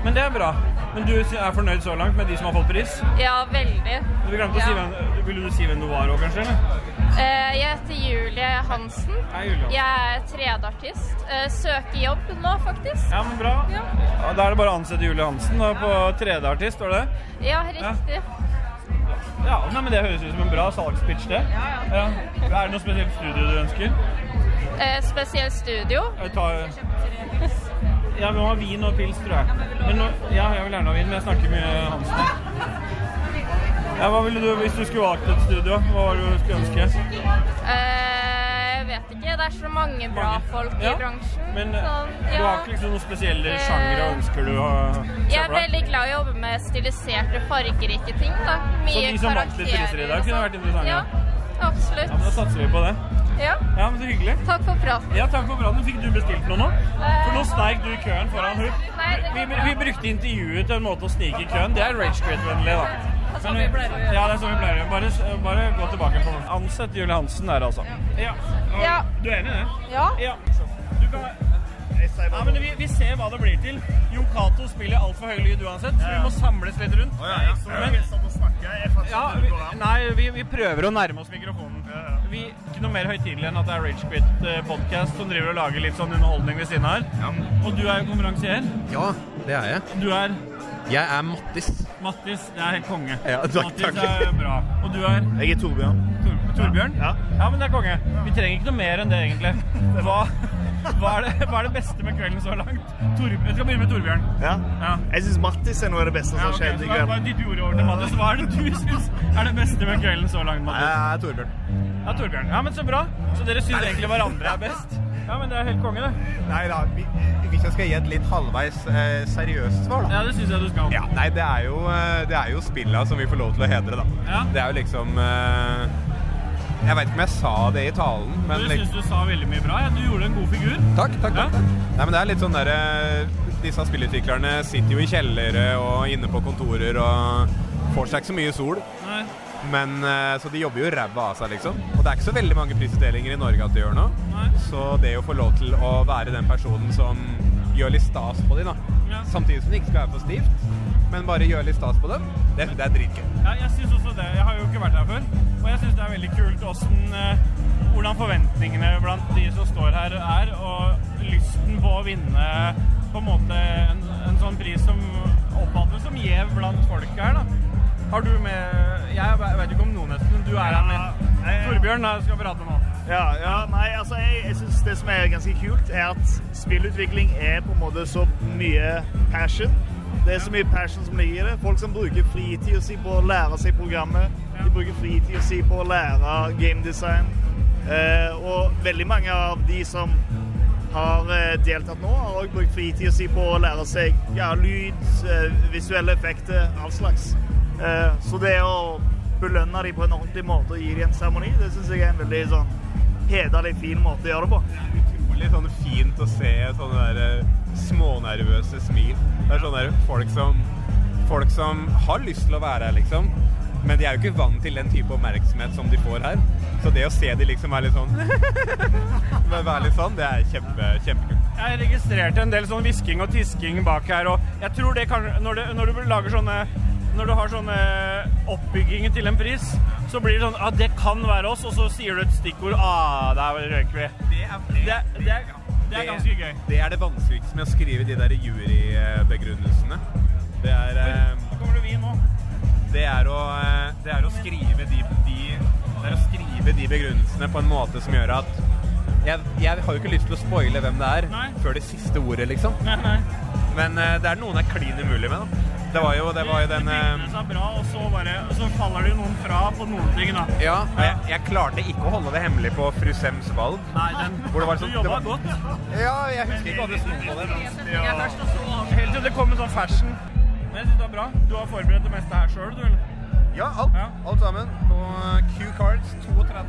Men det er bra. Men du er fornøyd så langt med de som har fått pris? Ja, veldig. Du glemte å si hvem, Ville du si hvem du var òg, kanskje? Eller? Eh, Jeg heter Julie Hansen. Hei, Julie. Jeg er 3D-artist. Eh, Søker jobb nå, faktisk. Ja, men bra. Ja, Ja, da er det bare å ansette Julie Hansen da, på 3D-artist, var det det? ja riktig. Ja, nei, men Det høres ut som en bra salgspitch, det. Ja, ja. Er det noe spesielt studio du ønsker? Eh, Spesielt studio. Jeg tar... Ja, vi må ha vin og pils, tror jeg. Men nå, ja, jeg vil gjerne ha vin, men jeg snakker mye Hansen. Ja, hva ville du, Hvis du skulle valgt et studio, hva var det du skulle ønske? Eh, Jeg vet ikke. Det er så mange bra folk i bransjen. Men eh, sånn, du ja. eh, har ikke liksom noen spesielle sjangre ønsker du å Jeg er veldig glad i å jobbe med stiliserte, fargerike ting. da. Så Mye de som vant litt priser i karakterer. dag, kunne vært interessante? Ja, absolutt. Ja, men Da satser vi på det. Ja. Ja, men Så hyggelig. Takk for praten. Ja, Takk for praten. Fikk du bestilt noe nå? For nå sneik du i køen foran hun. Eh, Nei, det Vi, vi brukte intervjuet til en måte å snike i køen. Det er Rage Quit-vennlig, da. Det er sånn vi pleier å gjøre. Ja, det er sånn vi pleier å gjøre. Bare, bare gå tilbake på Ansett Julie Hansen der, altså. Ja. Ja. Du er enig i det? Ja. Ja. Du kan ja, men vi, vi ser hva det blir til. Jon Cato spiller altfor høy lyd uansett, så vi må samles litt rundt. Men, ja, vi, nei, vi, vi prøver å nærme oss mikrofonen. Vi, ikke noe mer høytidelig enn at det er Rage Quit-podkast som driver og lager litt sånn underholdning ved siden av her. Og du er jo konferansier. Ja, det er jeg. Du er Jeg er Mattis. Mattis, det er helt konge. Ja, takk, Mattis takk. er bra. Og du er? Jeg er Torbjørn. Torbjørn? Ja. men det er konge. Vi trenger ikke noe mer enn det, egentlig. Hva, hva, er, det, hva er det beste med kvelden så langt? Tor, jeg skal begynne med Torbjørn. Ja. Jeg syns Mattis er noe av det beste som Ja, har ok, skjedd i så kveld. bare ditt ord over til Mattis. Hva er det du syns er det beste med kvelden så langt, Mattis? Jeg er Torbjørn. Ja, Torbjørn. Ja, men så bra. Så dere syns egentlig hverandre er best? Ja, men det er helt konge, det. Nei da, vi- hvis jeg skal gi et litt halvveis eh, seriøst svar, da. Ja, det syns jeg du skal. Ja, nei, det er jo, eh, det er jo spilla som vi får lov til å hedre, da. Ja. Det er jo liksom eh, Jeg veit ikke om jeg sa det i talen, men Du liksom- syns du sa veldig mye bra. Ja. Du gjorde en god figur. Takk, takk, takk. takk. Nei, men det er litt sånn derre Disse spillutviklerne sitter jo i kjellere og inne på kontorer og får seg ikke så mye sol. Nei. Men eh, Så de jobber jo ræva av seg, liksom. Og det er ikke så veldig mange prisutdelinger i Norge at de gjør nå. Så det å få lov til å være den personen som gjør litt stas på dem, da. Samtidig som det ikke skal være for stivt, men bare gjør litt stas på dem, det, det er dritgøy. Ja, jeg syns også det. Jeg har jo ikke vært her før. Og jeg syns det er veldig kult hvordan, eh, hvordan forventningene blant de som står her, er. Og lysten på å vinne på en måte en, en sånn pris som oppfattes som gjev blant folket her, da. Har du med Jeg vet ikke om noen nesten, men du er her med. Torbjørn da, skal prate nå. Ja, ja, nei, altså jeg, jeg synes det som er ganske kult er at spillutvikling er på en måte så mye passion. Det er så mye passion som ligger i det. Folk som bruker fritiden sin på å lære seg programmet. De bruker fritiden sin på å lære game design. Eh, og veldig mange av de som har eh, deltatt nå, har også brukt fritiden sin på å lære seg ja, lyd, eh, visuelle effekter, all slags. Eh, så det å belønne dem på en ordentlig måte og gi dem en seremoni, det synes jeg er en veldig sånn hederlig, fin måte å gjøre det på. utrolig sånn fint å se sånne der eh, smånervøse smil. Det er sånne der folk som, folk som har lyst til å være her, liksom. Men de er jo ikke vant til den type oppmerksomhet som de får her. Så det å se de liksom være litt sånn men Være litt sånn, det er kjempe, kjempekult. Jeg registrerte en del sånn hvisking og tisking bak her, og jeg tror det kan Når, det, når du lager sånne når du har sånne oppbygginger til en pris, så blir det sånn ah, det kan være oss, og så sier du et stikkord ah, der røyker vi. Det er, det, er, det er ganske gøy. Det er det vanskeligste med å skrive de der jurybegrunnelsene. Det er eh, Kommer det vin nå? det er å, eh, det er å skrive de, de det er å skrive de begrunnelsene på en måte som gjør at jeg, jeg har jo ikke lyst til å spoile hvem det er før det siste ordet, liksom. Men eh, det er noen det er klin umulig med, da. Det var jo, det var jo den eh, Det er bra, og så, bare, og så faller det jo noen fra på noen ting, da. Ja, og jeg, jeg klarte ikke å holde det hemmelig på fru Sems valg. Nei, den, Hvor det var sånn- du jobba det var- godt. Ja, jeg husker ikke hva det sto på den. Helt til det kom en sånn fashion. Men jeg synes det var bra. Du har forberedt det meste her sjøl, du, eller? Ja, alt, alt sammen. På eh, Q Cards 32.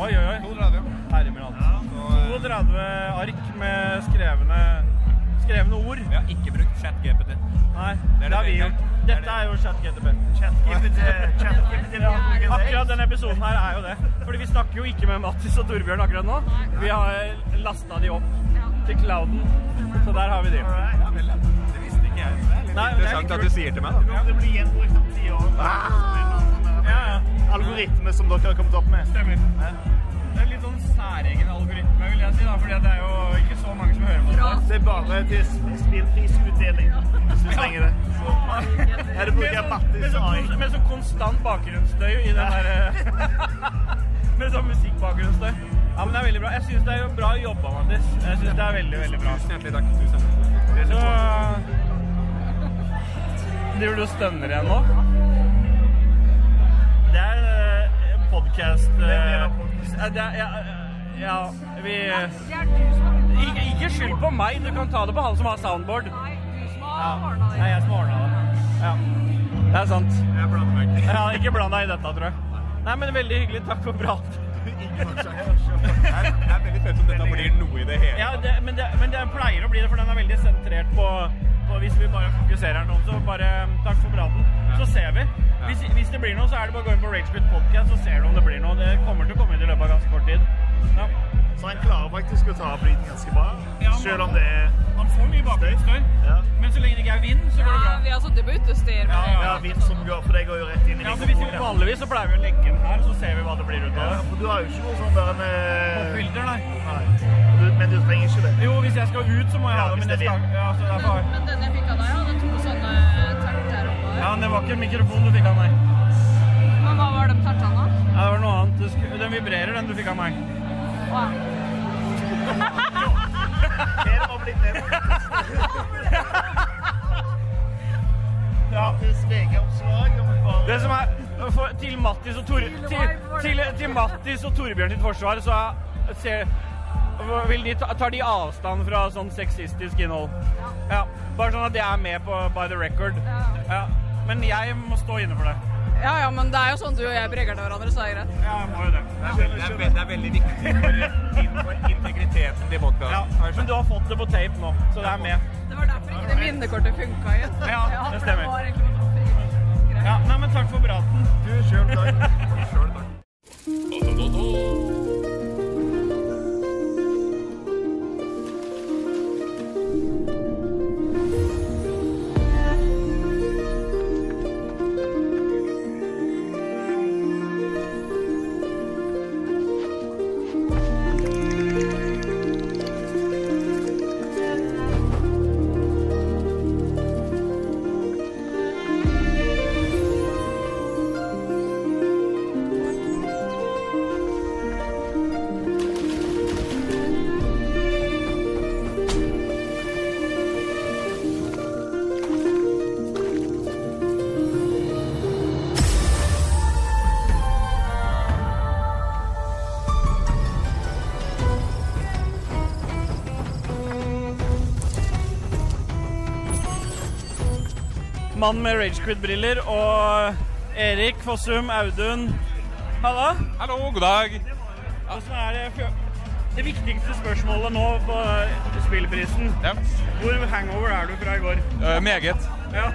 Oi, oi, oi. 32, ja. eh, Herre min hatt. 32 ark med skrevne, eh, skrevne ord. Vi har ikke brukt ChatGPT. Nei, Det er det det har vi gjort. bedre. Dette er jo ChatGTP. Akkurat denne episoden her er jo det. Fordi vi snakker jo ikke med Mattis og Torbjørn akkurat nå. Vi har lasta de opp til clouden. Så der har vi de. Det visste ikke jeg. Det er litt interessant at du sier til meg, da. Det blir gjenbrukt om ti år. Ah! Algoritme som dere har kommet opp med. Stemmer. Det er litt sånn særegen algoritme, vil jeg si, da. Fordi det er jo ikke så mange som hører på det. Det er bare til spillprisutdeling hvis du trenger det. Ja, det bruker jeg Med Mattis sånn- AI. Med sånn konstant bakgrunnsstøy i den derre Med sånn musikkbakgrunnsstøy. Ja, men det er veldig bra. Jeg syns det er jo bra jobba, Mattis. Jeg synes det er veldig, veldig bra. Tusen hjertelig takk. Tusen hjertelig Så Driver du og stønner igjen nå? Det er eh, en podkast Det er ja, eh, ja, vi ikke, ikke skyld på meg. Du kan ta det på han som har soundboard. Det er jeg som har ordna det. Ja. Det er sant. Jeg blander meg ikke. Ja, ikke bland deg i dette, tror jeg. Nei, men veldig hyggelig. Takk for praten. Det er, det er veldig fett om dette blir noe i det hele. Ja, det, men, det, men det pleier å bli det, for den er veldig sentrert på, på Hvis vi bare fokuserer den om, så bare mm, Takk for praten. Så ser vi. Hvis, hvis det blir noe, så er det bare å gå inn på Ragebit Podcast, så ser du om det blir noe. Det kommer til å komme inn i løpet av ganske kort tid. Så han klarer faktisk å ta opp lyden ganske bra, Ja, han- selv om det er Han får mye bakgrunnsstøy, Ja. men så lenge det ikke er vind, så går det bra. vi har sittet på utestyr. men- Ja, vind som går, for det går jo rett inn i Ja, så hvis vi mikrofonen. Vanligvis så pleier vi å legge den her, så ser vi hva det blir ut av Ja, det. for du har jo ikke noe sånn der en eh, Filter, nei. du, Men du trenger ikke det. Jo, hvis jeg skal ut, så må jeg Ja, ha det hvis med det er neste gang. Ja, så det er bare... Men den jeg fikk av deg, hadde to sånne eh, tert der oppe. ja, men det var ikke en mikrofon du fikk av meg. Men hva var de tertene? Ja, det var noe annet. Det sku- Den vibrerer, den du fikk av meg. Wow. Mer om litt mer om gratis VG-oppslag om bare Det som er for, Til Mattis og Tor... Til, til, til Mattis og Torbjørn sitt forsvar, så er- ser vil de ta, Tar de avstand fra sånn sexistisk innhold? Ja. Bare sånn at det er med på by the record. Ja. Men jeg må stå inne for det. Ja, ja, men det er jo sånn du og jeg brygger til hverandre, så det er greit. Ja, jeg må jo det. Det er, veldig- det er, veldig- det er veldig viktig for, for integriteten til Ja, podkasten. men du har fått det på tape nå, så det er med. Det var derfor ikke det minnekortet funka igjen. Ja, det for stemmer. var egentlig bare greit. Ja, nei, men takk for praten. Du sjøl, takk. Mann med Ragequid-briller og Erik Fossum Audun. Halla. Hallo, god dag. Hvordan er det fø- Det viktigste spørsmålet nå på eh, spillprisen. Hvor hangover er du fra i går? Eh, meget. Ja.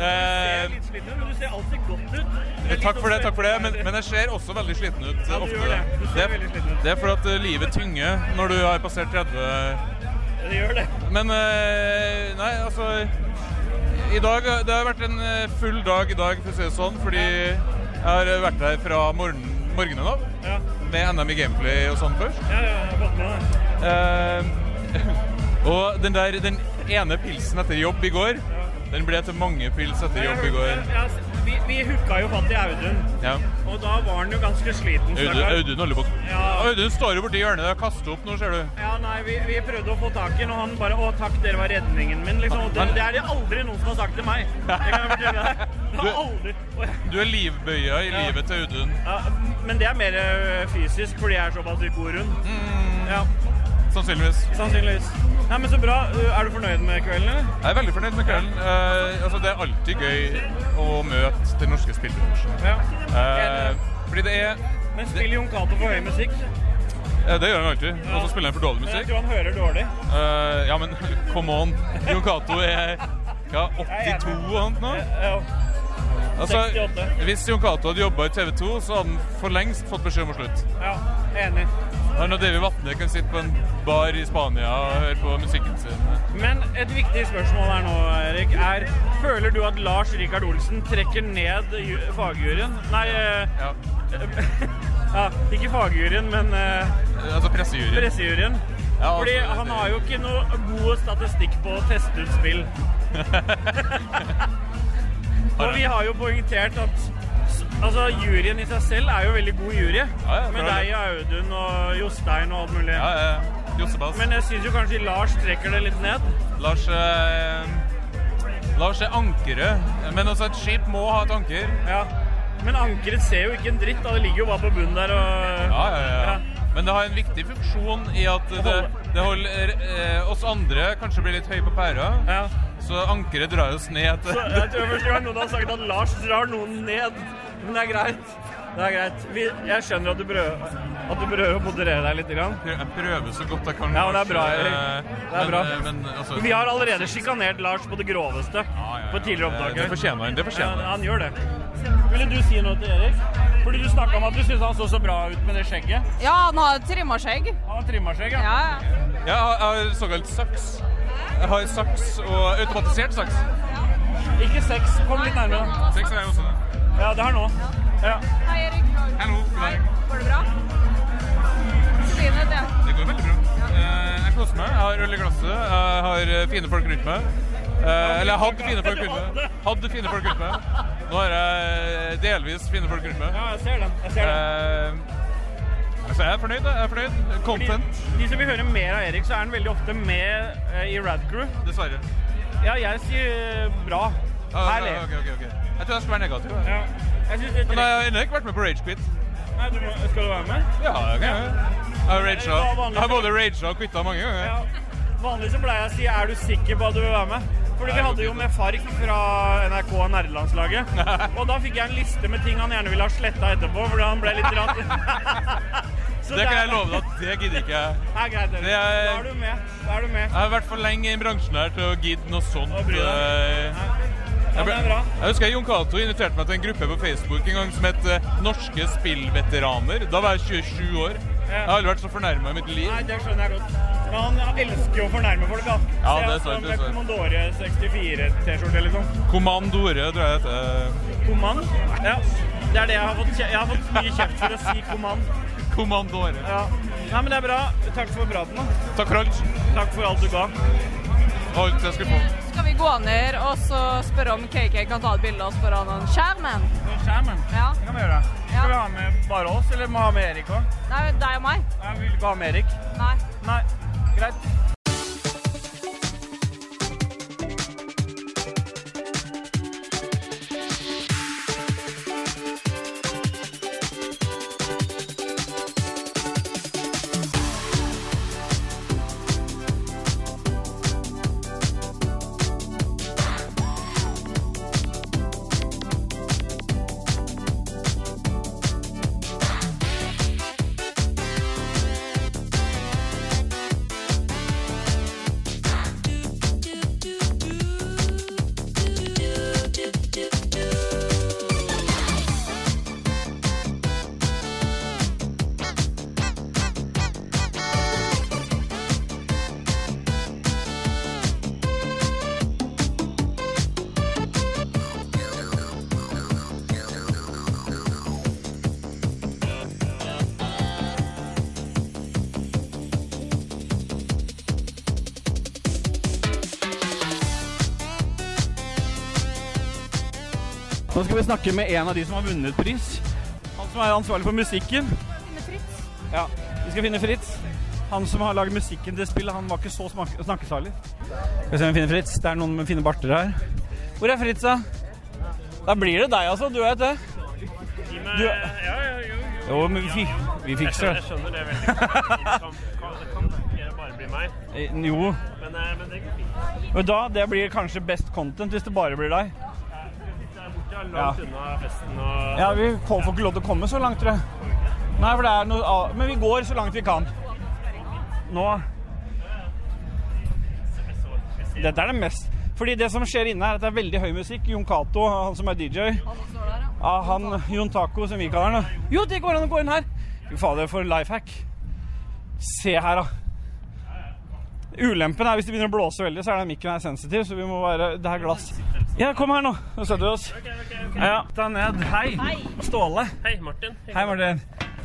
Eh, Litt sliten, men du ser alltid godt ut. takk sånn for det, takk for det. Men, men jeg ser også veldig sliten ut. Ja, du ofte. gjør det. Du ser veldig sliten ut. det er for at eh, livet tynger når du har passert 30. Det gjør det. Men eh, nei, altså i dag, Det har vært en eh, full dag i dag, for å si det sånn, fordi jeg har vært her fra morgen, morgenen av Ja. med NM i gameplay og sånn først. Ja, ja, jeg har fått med Eh, det. og den der, den ene pilsen etter jobb i går, den ble til mange pils etter jobb i går. Ja, vi, vi hooka jo fatt i Audun, Ja. og da var han jo ganske sliten. Audun, stakkar. Audun holder på. Ja. Audun står jo borti hjørnet der og kaster opp nå, ser du. Ja, nei, vi, vi prøvde å få tak i den, og han bare 'Å, takk, dere var redningen min', liksom. Og det, det er det aldri noen som har sagt til meg. Det kan jeg fortelle deg. Det har aldri. Og jeg- Du er livbøya i Ja. livet til Audun. Ja, men det er mer ø, fysisk, fordi jeg er såpass god rund. Ja. Mm. Sannsynligvis. Sannsynligvis. Nei, men så bra. Ø, Er du fornøyd med kvelden, eller? Jeg er veldig fornøyd med kvelden. Eh, altså, det er alltid gøy å møte den norske spillbransjen. Ja. Eh, fordi det er Men spiller Jon Cato for høy musikk? ja, Det gjør han alltid. Og så spiller han for dårlig Men jeg musikk. tror han hører dårlig. Eh, ja, men come on. Jon Cato er ja, 82 og annet nå. Ja. Altså, 68. hvis Jon Cato hadde jobba i TV 2, så hadde han for lengst fått beskjed om å slutte. ja, enig. Han og Davy Vatne kan sitte på en bar i Spania og høre på musikken sin. Men et viktig spørsmål her nå, Erik, er Føler du at Lars Rikard Olsen trekker ned ju- fagjuryen? Nei ø, Ja. ja, Ikke fagjuryen, men ø, Altså pressejuryen. pressejuryen. Ja, Fordi altså, han det- har jo ikke noe god statistikk på å teste ut spill. Og vi har jo poengtert at s- Altså, juryen i seg selv er jo veldig god jury. ja, med bra, deg og Audun og Jostein og alt mulig. Ja, ja, ja. Jossebass. Men jeg syns jo kanskje Lars trekker det litt ned. Lars eh, Lars er ankeret. Men også et skip må ha et anker. Ja. Men ankeret ser jo ikke en dritt, da. Det ligger jo bare på bunnen der og Ja, ja, ja. Men det har en viktig funksjon i at det, det holder eh, oss andre kanskje blir litt høye på pæra. Så ankeret drar oss ned. Så jeg tror første gang noen har sagt at Lars drar noen ned. Men det er greit. Det er greit. Vi, jeg skjønner at du prøver, at du prøver å moderere deg litt. Grann. Jeg prøver så godt jeg kan. Ja, men det er bra, Lars. Erik. Eh, Det er bra. Men, men, altså, Vi har allerede sjikanert Lars på det groveste på tidligere Det- opptak. det fortjener han, det fortjener ja, han. han. gjør det. Ville du si noe til Erik? Fordi du snakka om at du syntes han så så bra ut med det skjegget. Ja, han har trimma skjegg. Han har trimma skjegg, ja. ja. Jeg har, jeg har såkalt saks. Jeg har saks og automatisert saks. Ikke sex. Kom litt nærmere. Seks har jeg også. Ja, det har nå. Ja. Hei, Erik. Hallo, god dag. Går det bra? Fin ut, ja. Det går veldig bra. Eh, Jeg koser meg. Jeg har øl i glasset. Jeg har eh, fine folk rundt meg. Eh, Eller jeg hadde fine folk rundt meg. Hadde fine folk rundt meg. Nå har jeg eh, delvis fine folk rundt meg. Ja, jeg ser den. Jeg ser den. Eh, Altså, jeg er fornøyd. da. Jeg er fornøyd. Content. De som vil høre mer av Erik, så er han veldig ofte med eh, i Rad Crew. Dessverre. Ja, jeg sier eh, bra. Ah, Herlig. ok, ok, ok. Jeg tror jeg skal være negativ. jeg. Ja. Jeg synes det er Men jeg har ennå ikke vært med på Rage Quit. Nei, du må, skal du være med? Ja, ok. Jeg har raget. Jeg har både raget og quitta mange ganger. Ja. Vanligvis så pleier jeg å si 'er du sikker på at du vil være med'? Fordi vi hadde jo med Fark fra NRK og nerdelandslaget. Og da fikk jeg en liste med ting han gjerne ville ha sletta etterpå, fordi han ble litt rart. Så Det kan er- jeg love deg at det gidder ikke jeg. Det er greit, Erik. Det er- Da er du med. Da er du med. Jeg har vært for lenge i bransjen her til å gidde noe sånt. Å bry deg. eh, Ja, Jeg, det er bra. jeg husker Jon Cato inviterte meg til en gruppe på Facebook en gang som het eh, Norske spillveteraner. Da var jeg 27 år. Jeg har aldri vært så fornærma i mitt liv. Nei, det skjønner jeg godt. Men han, han elsker jo å fornærme folk. da. Ja, Se, det er altså, sant, det er Med sant. Commodore 64-T-skjorte, liksom. Kommandore, tror jeg det heter. Kommand? Ja. Det er det jeg har fått, kje- jeg har fått mye kjeft for å si kommand. Kommandore. Ja. Nei, men det er bra. Takk for praten. da. Takk for alt. Takk for alt du ga. Alt jeg skulle få. Skal vi gå ned og så spørre om KK kan ta et bilde av oss foran en skjerm? men? Skjermen. Ja. Det kan vi gjøre. Skal vi ha med bare oss, eller må vi ha med Erik òg? Nei, deg og meg? Nei, vi vil ikke ha med Erik. Nei. Nei, greit. Nå skal vi snakke med en av de som har vunnet pris. Han som er ansvarlig for musikken. Ja, Vi skal finne Fritz. Han som har lagd musikken til spillet, han var ikke så smak- snakkesalig. Skal vi se om vi finner Fritz. Det er noen med fine barter her. Hvor er Fritz, da? Da blir det deg, altså. Du vet det. Du, ja, ja, jo, jo. jo, men vi, fi- vi fikser Jeg skjønner, jeg skjønner det veldig godt. Det kan, kan, det kan ikke bare bli meg. Eh, Jo. Men, eh, men det går fint. Men da, det blir kanskje best content hvis det bare blir deg. Det er borte langt Ja. unna festen og Ja, vi får får ikke lov til å komme så langt, tror jeg. Nei, for det er noe av- Men vi går så langt vi kan. Nå Dette er det mest Fordi det som skjer inne her, er at det er veldig høy musikk. Jon Cato, han som er DJ. Ja, han Jon Taco, som vi kaller han. da. Jo, det går an å gå inn her! Fy fader, for life hack. Se her, da. Ulempen er hvis det begynner å blåse veldig, så er den mikken her sensitiv, så vi må være Det er glass. Ja, kom her nå. Nå setter vi oss. Ja, ta ned. Hei. Ståle. Hei, Martin. Hei, Martin.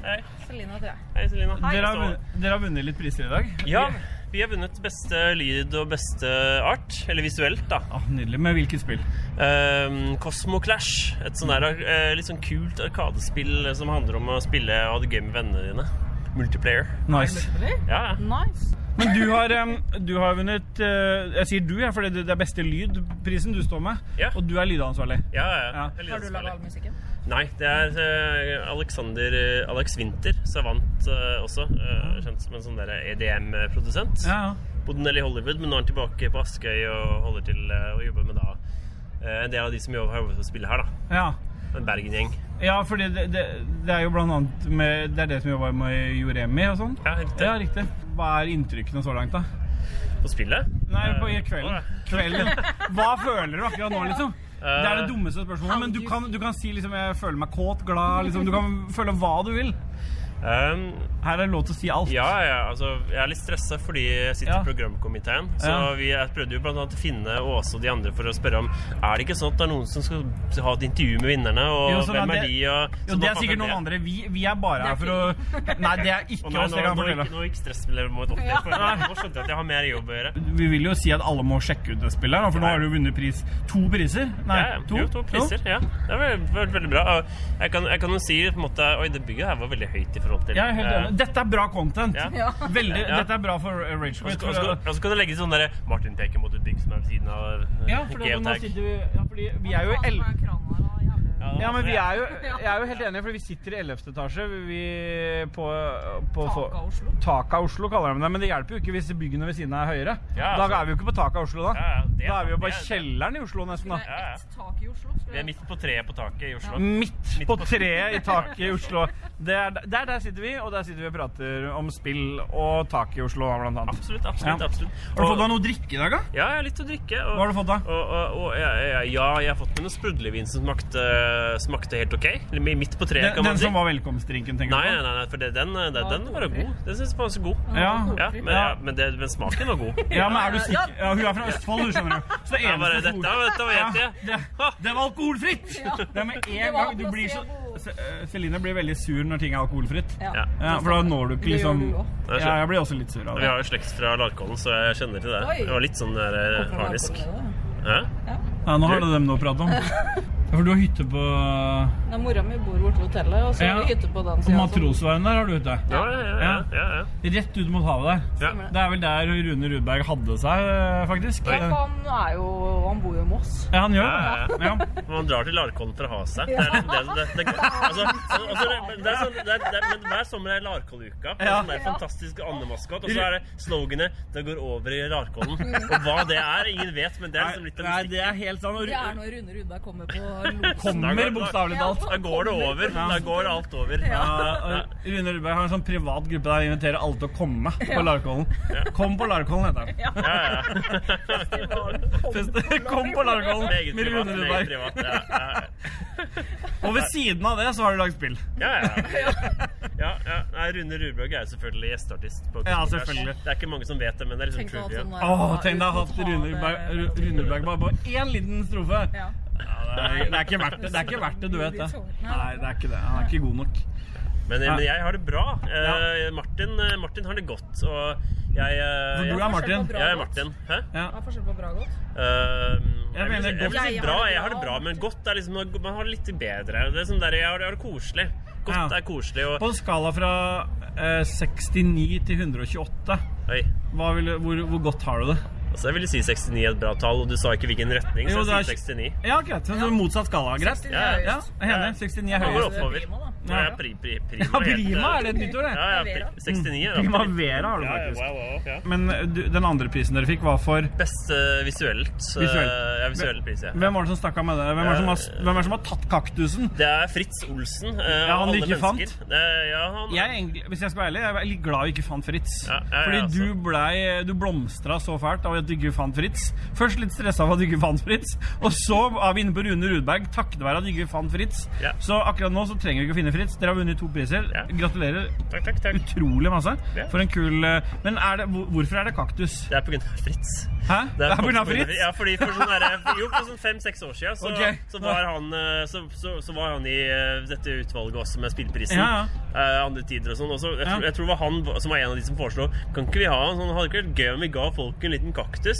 Hei. Selina, tror jeg. Hei, Selina. Dere har, vunnet, dere har vunnet litt priser i dag. Ja, vi har vunnet beste lyd og beste art, eller visuelt, da. Ah, nydelig. Med hvilket spill? Um, Cosmo Clash. Et sånn der, eh, litt sånn kult arkadespill eh, som handler om å spille og ha det gøy med vennene dine. Multiplayer. Nice. Ja, ja. Nice. Men du har, em, du har vunnet eh, Jeg sier du, ja, for det det er beste lydprisen du står med. Og du er lydansvarlig. Ja, ja, ja. Jeg Har liker du det laga all musikken? Nei, det er eh, Alexander eh, Alex Winter som vant eh, også. eh, kjent som en sånn der EDM-produsent. Bodde en del i Hollywood, men nå er han tilbake på Askøy og holder til eh, å jobbe med da eh, en del av de som jobber har jobbet for å spille her, da. Ja. En Bergen-gjeng. Ja, fordi det, det, det er jo blant annet med, Det er det som jobber med Joremi og sånn. Ja, riktig. Ja, riktig. Hva er inntrykkene så langt, da? På spillet? Nei, på i kvelden. kvelden. Hva føler du akkurat nå, liksom? Det er det dummeste spørsmålet, men du kan, du kan si liksom 'jeg føler meg kåt', 'glad' liksom. Du kan føle hva du vil. Um, Her er det lov til å si alt. Ja, ja, altså, jeg er litt stressa fordi jeg sitter i programkomiteen. Så Ja. vi jeg prøvde jo blant annet å finne Åse og de andre for å spørre om Er det ikke sånn at det er noen som skal ha et intervju med vinnerne, og Jo, så hvem det- er de? Og, Jo, det så bare er sikkert fant jeg noen andre. Vi, vi er bare her for å Nei, det er ikke Å, nei, oss, nå, det kan jeg nå, fortelle. gikk, nå gikk stressnivået opp. Jeg får- Nå skjønte jeg at jeg har mer jobb å gjøre. Vi vil jo si at alle må sjekke ut det spillet, her, for nå har du vunnet pris to priser. Nei, ja, ja. to. Jo, to priser. Ja. Det har vært, vært veldig bra. Og Jeg kan, jeg kan jo si på en måte Oi, det bygget her var veldig høyt i forhold til Jeg er helt eh, enig. Dette er bra content. Ja. Veldig, Ja. Dette er bra for eh, Rage Og så Quit. kan- og så for, eh, kan- og så kan du legge sånn derre Martin peker mot et bygg som er ved siden av eh, Ja, for det, nå Geotag. sitter vi ja, fordi vi er jo i el... Ja, men vi er jo, jeg er jo helt enig, for vi sitter i 11. etasje vi på, på Taket av Oslo? Taket av Oslo kaller de det, men det hjelper jo ikke hvis byggene ved siden av er høyere. Ja, da altså. er vi jo ikke på taket av Oslo da. Ja, ja, det er da er vi jo sant, bare i det er- kjelleren i Oslo nesten da. Ja, ja. Vi er midt på treet på taket i Oslo. Midt på treet i taket i Oslo. Det er, der, der sitter vi, og der sitter vi og prater om spill og taket i Oslo, blant annet. Absolutt, absolutt, Ja. absolutt. Har du fått deg noe å drikke i dag, da? Ja, jeg har litt å drikke. Og, Hva har du fått da? Og, og, og, ja, ja, ja, jeg har fått meg noen sprudlevin som smakte, smakte helt ok. Eller Midt på treet, Den, kan man den si. som var velkomstdrinken, tenker du Nei, på? nei, nei, nei, for det, den, den, Ah, den var jo god. Den synes jeg var så god. Ja. men, ja, men, det, men smaken var god. Ah, Ja, men er du sikker? Ja, hun er fra Østfold, du skjønner du. Så det Ja, bare, eneste dette, Ja, dette vet jeg. det, det var alkoholfritt! Det er med Det en var gang du blir så Se- eh, Celine blir veldig sur når ting er alkoholfritt. Ja. For da når du ikke Det gjør liksom du også. Ja, jeg blir også litt sur av Vi det. har jo slekt fra Larkollen, så jeg kjenner til det. Oi. Det var litt sånn der eh, Kommer fra harnisk. Larkollen, Hæ? Ja, nå har du dem noe å prate om. Ja, For du har hytte på Nei, Mora mi bor borte ved hotellet, og så Ja. har vi hytte på den På siden, altså. så- Matrosveien der har du hytte. Ja, ja, ja, ja, ja, ja. Rett ut mot havet der. Stemmer det. Det er vel der Rune Rudberg hadde seg, eh, faktisk. Ja, for han er jo Han bor jo i Moss. Ja, han gjør Ja, det. ja, ja. Man drar til Larkollen for å ha seg. Det er liksom det, det, det, altså, så- altså, det, men det er sånn, det, er- det, er- men hver sommer er Larkolluka. og Ja. Sånn der fantastisk andemaskot. Og så er det sloganet 'Det går over i Larkollen'. Og hva det er, ingen vet, men det er liksom litt av Nei, det er helt sånn Det er når Rune Rudberg kommer på Kommer, Da går- bokstavelig talt. Da går det over. Da går alt over. Ja. og Rune Rudberg har en sånn privat gruppe der han inviterer alle til å komme på Larkollen. Kom på Larkollen, heter han. Ja, Fest- Kom på Larkollen Meget med privat, Rune meget Rudberg. privat. Ja, ja. Og ved siden av det så har du lagd spill. Ja, ja. ja, ja. Nei, Rune Rudberg er jo selvfølgelig gjesteartist. På Ja, Kulturkurs. selvfølgelig. Det er ikke mange som vet det, men det er liksom trivia. Åh, tenk deg å ha hatt Rune Rudberg- Ru- Rune Rudberg bare på én liten strofe. Ja, det, er, det er ikke verdt det. Det er ikke verdt det, du vet det. Nei, det er ikke det. Han er ikke god nok. Men, men jeg har det bra. Eh, Ja. Martin, eh, Martin har det godt. Og jeg eh, For du jeg- er Martin? Jeg er Martin. Hæ? Hva er forskjellen på bra og godt? Eh, jeg, mener vil si- jeg, godt. vil si Jeg har bra, det jeg har bra, det bra, men godt er liksom Man har det litt bedre. Det er sånn der, jeg, har, det- jeg har det koselig. Godt er koselig. Og, På en skala fra eh, 69 til 128, hva vil, du- hvor, hvor godt har du det? altså, jeg ville si 69 er et bra tall, og du sa ikke hvilken retning, så Jo, det jeg er- sier 69. Ja, greit. Så motsatt skala. Greit. 69 er ja, høyest. jeg er enig. 69 er Det går høyest. oppover. Ja, ja, pri, pri, prima, Ja, heter prima er det et nytt ord, det. Ja, ja, pri, 69 er Prima Vera har du Ja, ja, faktisk. wow, wow, ja. Men du, den andre prisen dere fikk, var for Best eh, visuelt. eh, Visuelt. Ja, visuell pris, ja. Hvem var det som snakka med deg? Hvem er det som har, hvem er det som har tatt kaktusen? Det er Fritz Olsen. eh, Ja, han alle du ikke mennesker. fant? Eh, ja, han Jeg, er egentlig- hvis jeg skal være ærlig, jeg er litt glad vi ikke fant Fritz. ja, Fordi altså. du, blei- du blomstra så fælt av at du ikke fant Fritz. Først litt stressa for at du ikke fant Fritz, og så er vi inne på Rune Rudberg takket være at du ikke fant Fritz. Ja. Så akkurat nå så trenger vi ikke å finne Fritz. Dere har vunnet to priser. Gratulerer Takk, takk, takk. utrolig masse. Ja. For en kul eh, Men er det, hvor- hvorfor er det kaktus? Det er pga. Fritz. Hæ? Det er på grunn pga. av Fritz? Ja, fordi for sånn der, jo, for sånn fem-seks år siden så, Ok. så, var han, eh, så, så, så var han i eh, dette utvalget også med spillprisen. Ja, Eh, andre tider og sånn. Og så, jeg, tror- Ja. jeg tror det var han som var en av de som foreslo Kan ikke vi ha en sånn Hadde ikke vært gøy om vi ga folk en liten kaktus?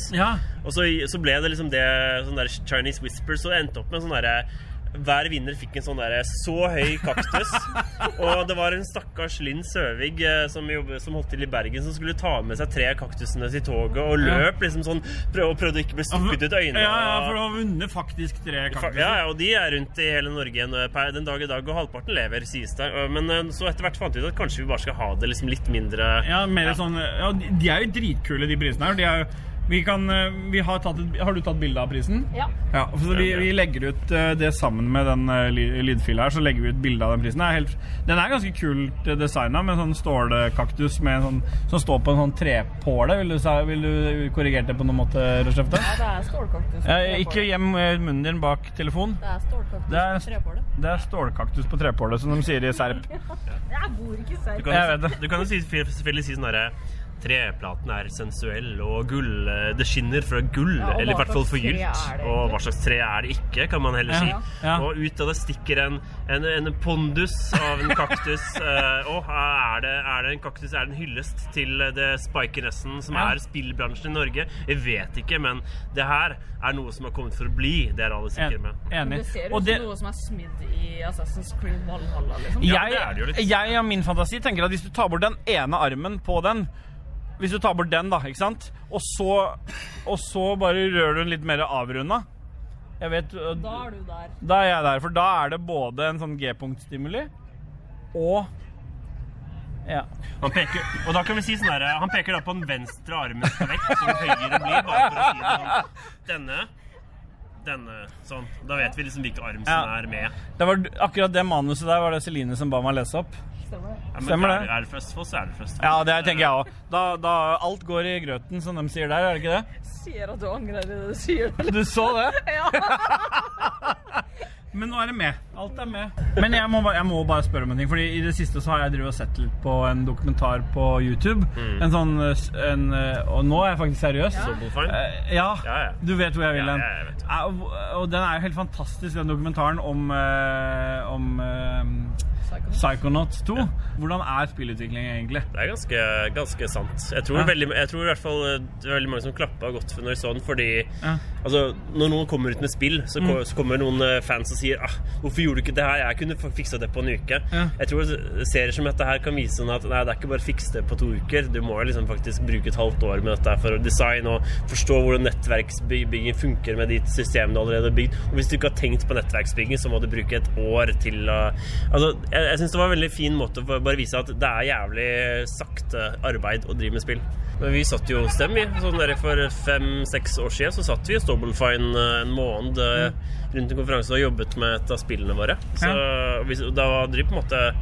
Og så, så ble det liksom det sånn der Chinese Whisper, så det endte opp med sånn derre hver vinner fikk en sånn der, så høy kaktus. og det var en stakkars Linn Søvig eh, som, jobbe, som holdt til i Bergen, som skulle ta med seg tre kaktusene til toget og Ja. løp liksom sånn prøv, Og prøvde å ikke bli stukket ut av øynene. Ja, ja, og- for du har vunnet faktisk tre kaktuser. ja, ja, og de er rundt i hele Norge en, eh, per- den dag i dag, og halvparten lever, sies det. Eh, Men eh, så etter hvert fant vi ut at kanskje vi bare skal ha det liksom litt mindre Ja, mer sånn ja, De de er jo dritkule, de prisene her. De er jo Vi kan, eh, vi har, tatt et, har du tatt bilde av prisen? Ja. Ja, for vi, vi legger ut eh, det sammen med den eh, ly- lydfila her, så legger vi ut bilde av den prisen. Den er, helt, den er ganske kult designa, med sånn stålkaktus med en sånn, som står på en sånn trepåle. Vil du, sa- vil du korrigert det på noen måte, Røsjefte? Ja, det er stålkaktus. Eh, ikke gjem eh, munnen din bak telefonen. Det er stålkaktus Det er, på trepålet. det er stålkaktus på trepålet, som de sier i Serp. Jeg bor ikke Du selv. kan, Jeg vet det. du kan jo si, selvfølgelig si sånn herre Treplaten er sensuell, og gull eh, Det skinner fra gull, Ja, og hva eller i hvert fall slags tre forgylt. er det Og hva slags tre er det ikke, kan man heller si. Ja, Og ut av det stikker en, en, en pondus av en kaktus. eh, og er det, er det en kaktus? Er det en hyllest til det spikeressen som Ja. er spillbransjen i Norge? Jeg vet ikke, men det her er noe som har kommet for å bli. Det er alle sikre med. Enig. Det ser ut Og som det- noe som er smidd i Assassin's Creed Valhalla, liksom. jeg, jeg og min fantasi tenker at hvis du tar bort den ene armen på den Hvis du tar bort den, da, ikke sant? Og så, og så bare rører du den litt mer avrunda. Jeg vet øh, Da er du der. Da er jeg der, for da er det både en sånn G-punktstimuli og ja. Han peker, og da kan vi si sånn her, han peker da på den venstre armen vekk, som høyere blir, bare for å si det sånn. Denne, denne, sånn. Da vet vi liksom hvilken arm som Ja. er med. Det var akkurat det manuset der var det Celine som ba meg lese opp. Ja, men Stemmer er- det? Er det først for, så er det først Ja, det tenker jeg òg. Da, da alt går i grøten, som de sier der, er det ikke det? Sier at du angrer det du sier. Du så det? Ja. Men nå er det med. Alt er med. Men jeg må, ba- jeg må bare spørre om en ting. Fordi I det siste så har jeg drevet og sett litt på en dokumentar på YouTube. Mm. En sånn eh, s- en, eh, Og nå er jeg faktisk seriøs. Ja. Soulful? Eh, Ja. Du vet hvor jeg vil Ja, hen. ja, jeg vet. Eh, Og og den er jo helt fantastisk, den dokumentaren om, eh, om eh, Psychonauts 2. Hvordan er spillutvikling egentlig? Det er ganske, ganske sant. Jeg tror, Ja. veldig, jeg tror i hvert fall eh, det er veldig mange som klappa godt for når de så den, fordi Ja. altså, når noen kommer ut med spill, så, ko- Mm. så kommer noen eh, fans og sier ah, 'Hvorfor gjorde du ikke det her? Jeg kunne f- fiksa det på en uke.' Ja. Jeg tror serier som dette her kan vise sånn at nei, det er ikke bare fiks det på to uker. Du må jo liksom faktisk bruke et halvt år med dette her for å designe og forstå hvordan nettverksbygging funker med de systemene du allerede har bygd. Og hvis du ikke har tenkt på nettverksbygging, så må du bruke et år til å Altså, jeg, jeg syns det var en veldig fin måte for å bare vise at det er jævlig sakte arbeid å drive med spill. Men vi satt jo hos dem, vi. Sånn der for fem-seks år siden så satt vi i Stobble Fine eh, en måned eh, rundt en konferanse og jobbet med et av spillene våre. Så vi, da var det på en måte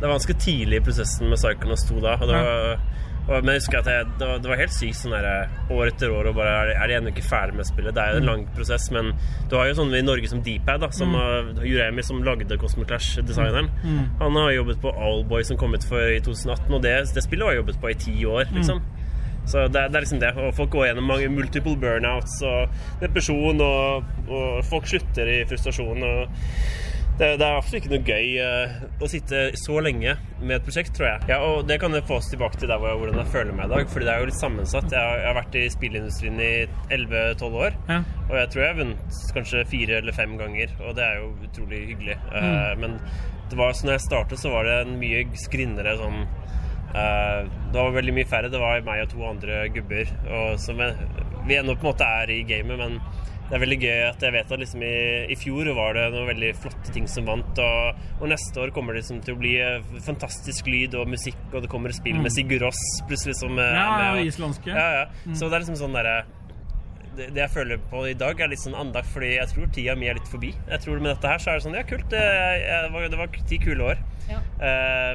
Det var ganske tidlig i prosessen med Psychonauts 2 da. Og det Ja. var, og, men jeg husker at jeg, det, var, det var helt sykt sånn der år etter år og bare Er, er de ennå ikke ferdig med spillet? Det er jo en lang prosess, men du har jo sånne i Norge som Deepad, da, som Mm. Mm. eh, Juremi, som lagde Cosmic Clash-designeren. Mm. Han har jobbet på Allboy som kom ut for i 2018, og det, det spillet har jeg jobbet på i ti år, Mm. liksom. Så det, er- det er liksom det. Og folk går gjennom mange multiple burnouts og depresjon, og, og folk slutter i frustrasjon. Og det, det er absolutt ikke noe gøy eh, å sitte så lenge med et prosjekt, tror jeg. Ja, og det kan få oss tilbake til der hvor jeg, hvordan jeg føler meg i dag, fordi det er jo litt sammensatt. Jeg har, jeg har vært i spillindustrien i 11-12 år. Ja. Og jeg tror jeg har vunnet kanskje fire eller fem ganger, og det er jo utrolig hyggelig. Eh, Mm. Men det var, så når jeg startet, så var det en mye skrinnere sånn eh, Det var veldig mye færre. Det var meg og to andre gubber. Og som jeg, vi ennå på en måte er i gamet, men det er veldig gøy at jeg vet at liksom i, i fjor var det noen veldig flotte ting som vant, og, og neste år kommer det liksom til å bli eh, fantastisk lyd og musikk, og det kommer spill med Mm. Sigur Ross plutselig som eh, Ja, er med, ja, og- islandske. Ja, ja. Mm. Så det er liksom sånn derre det, det jeg føler på i dag, er litt sånn andakt, fordi jeg tror tida mi er litt forbi. Jeg tror Med dette her så er det sånn Ja, kult. Det, jeg, var- det var ti kule år. Eh,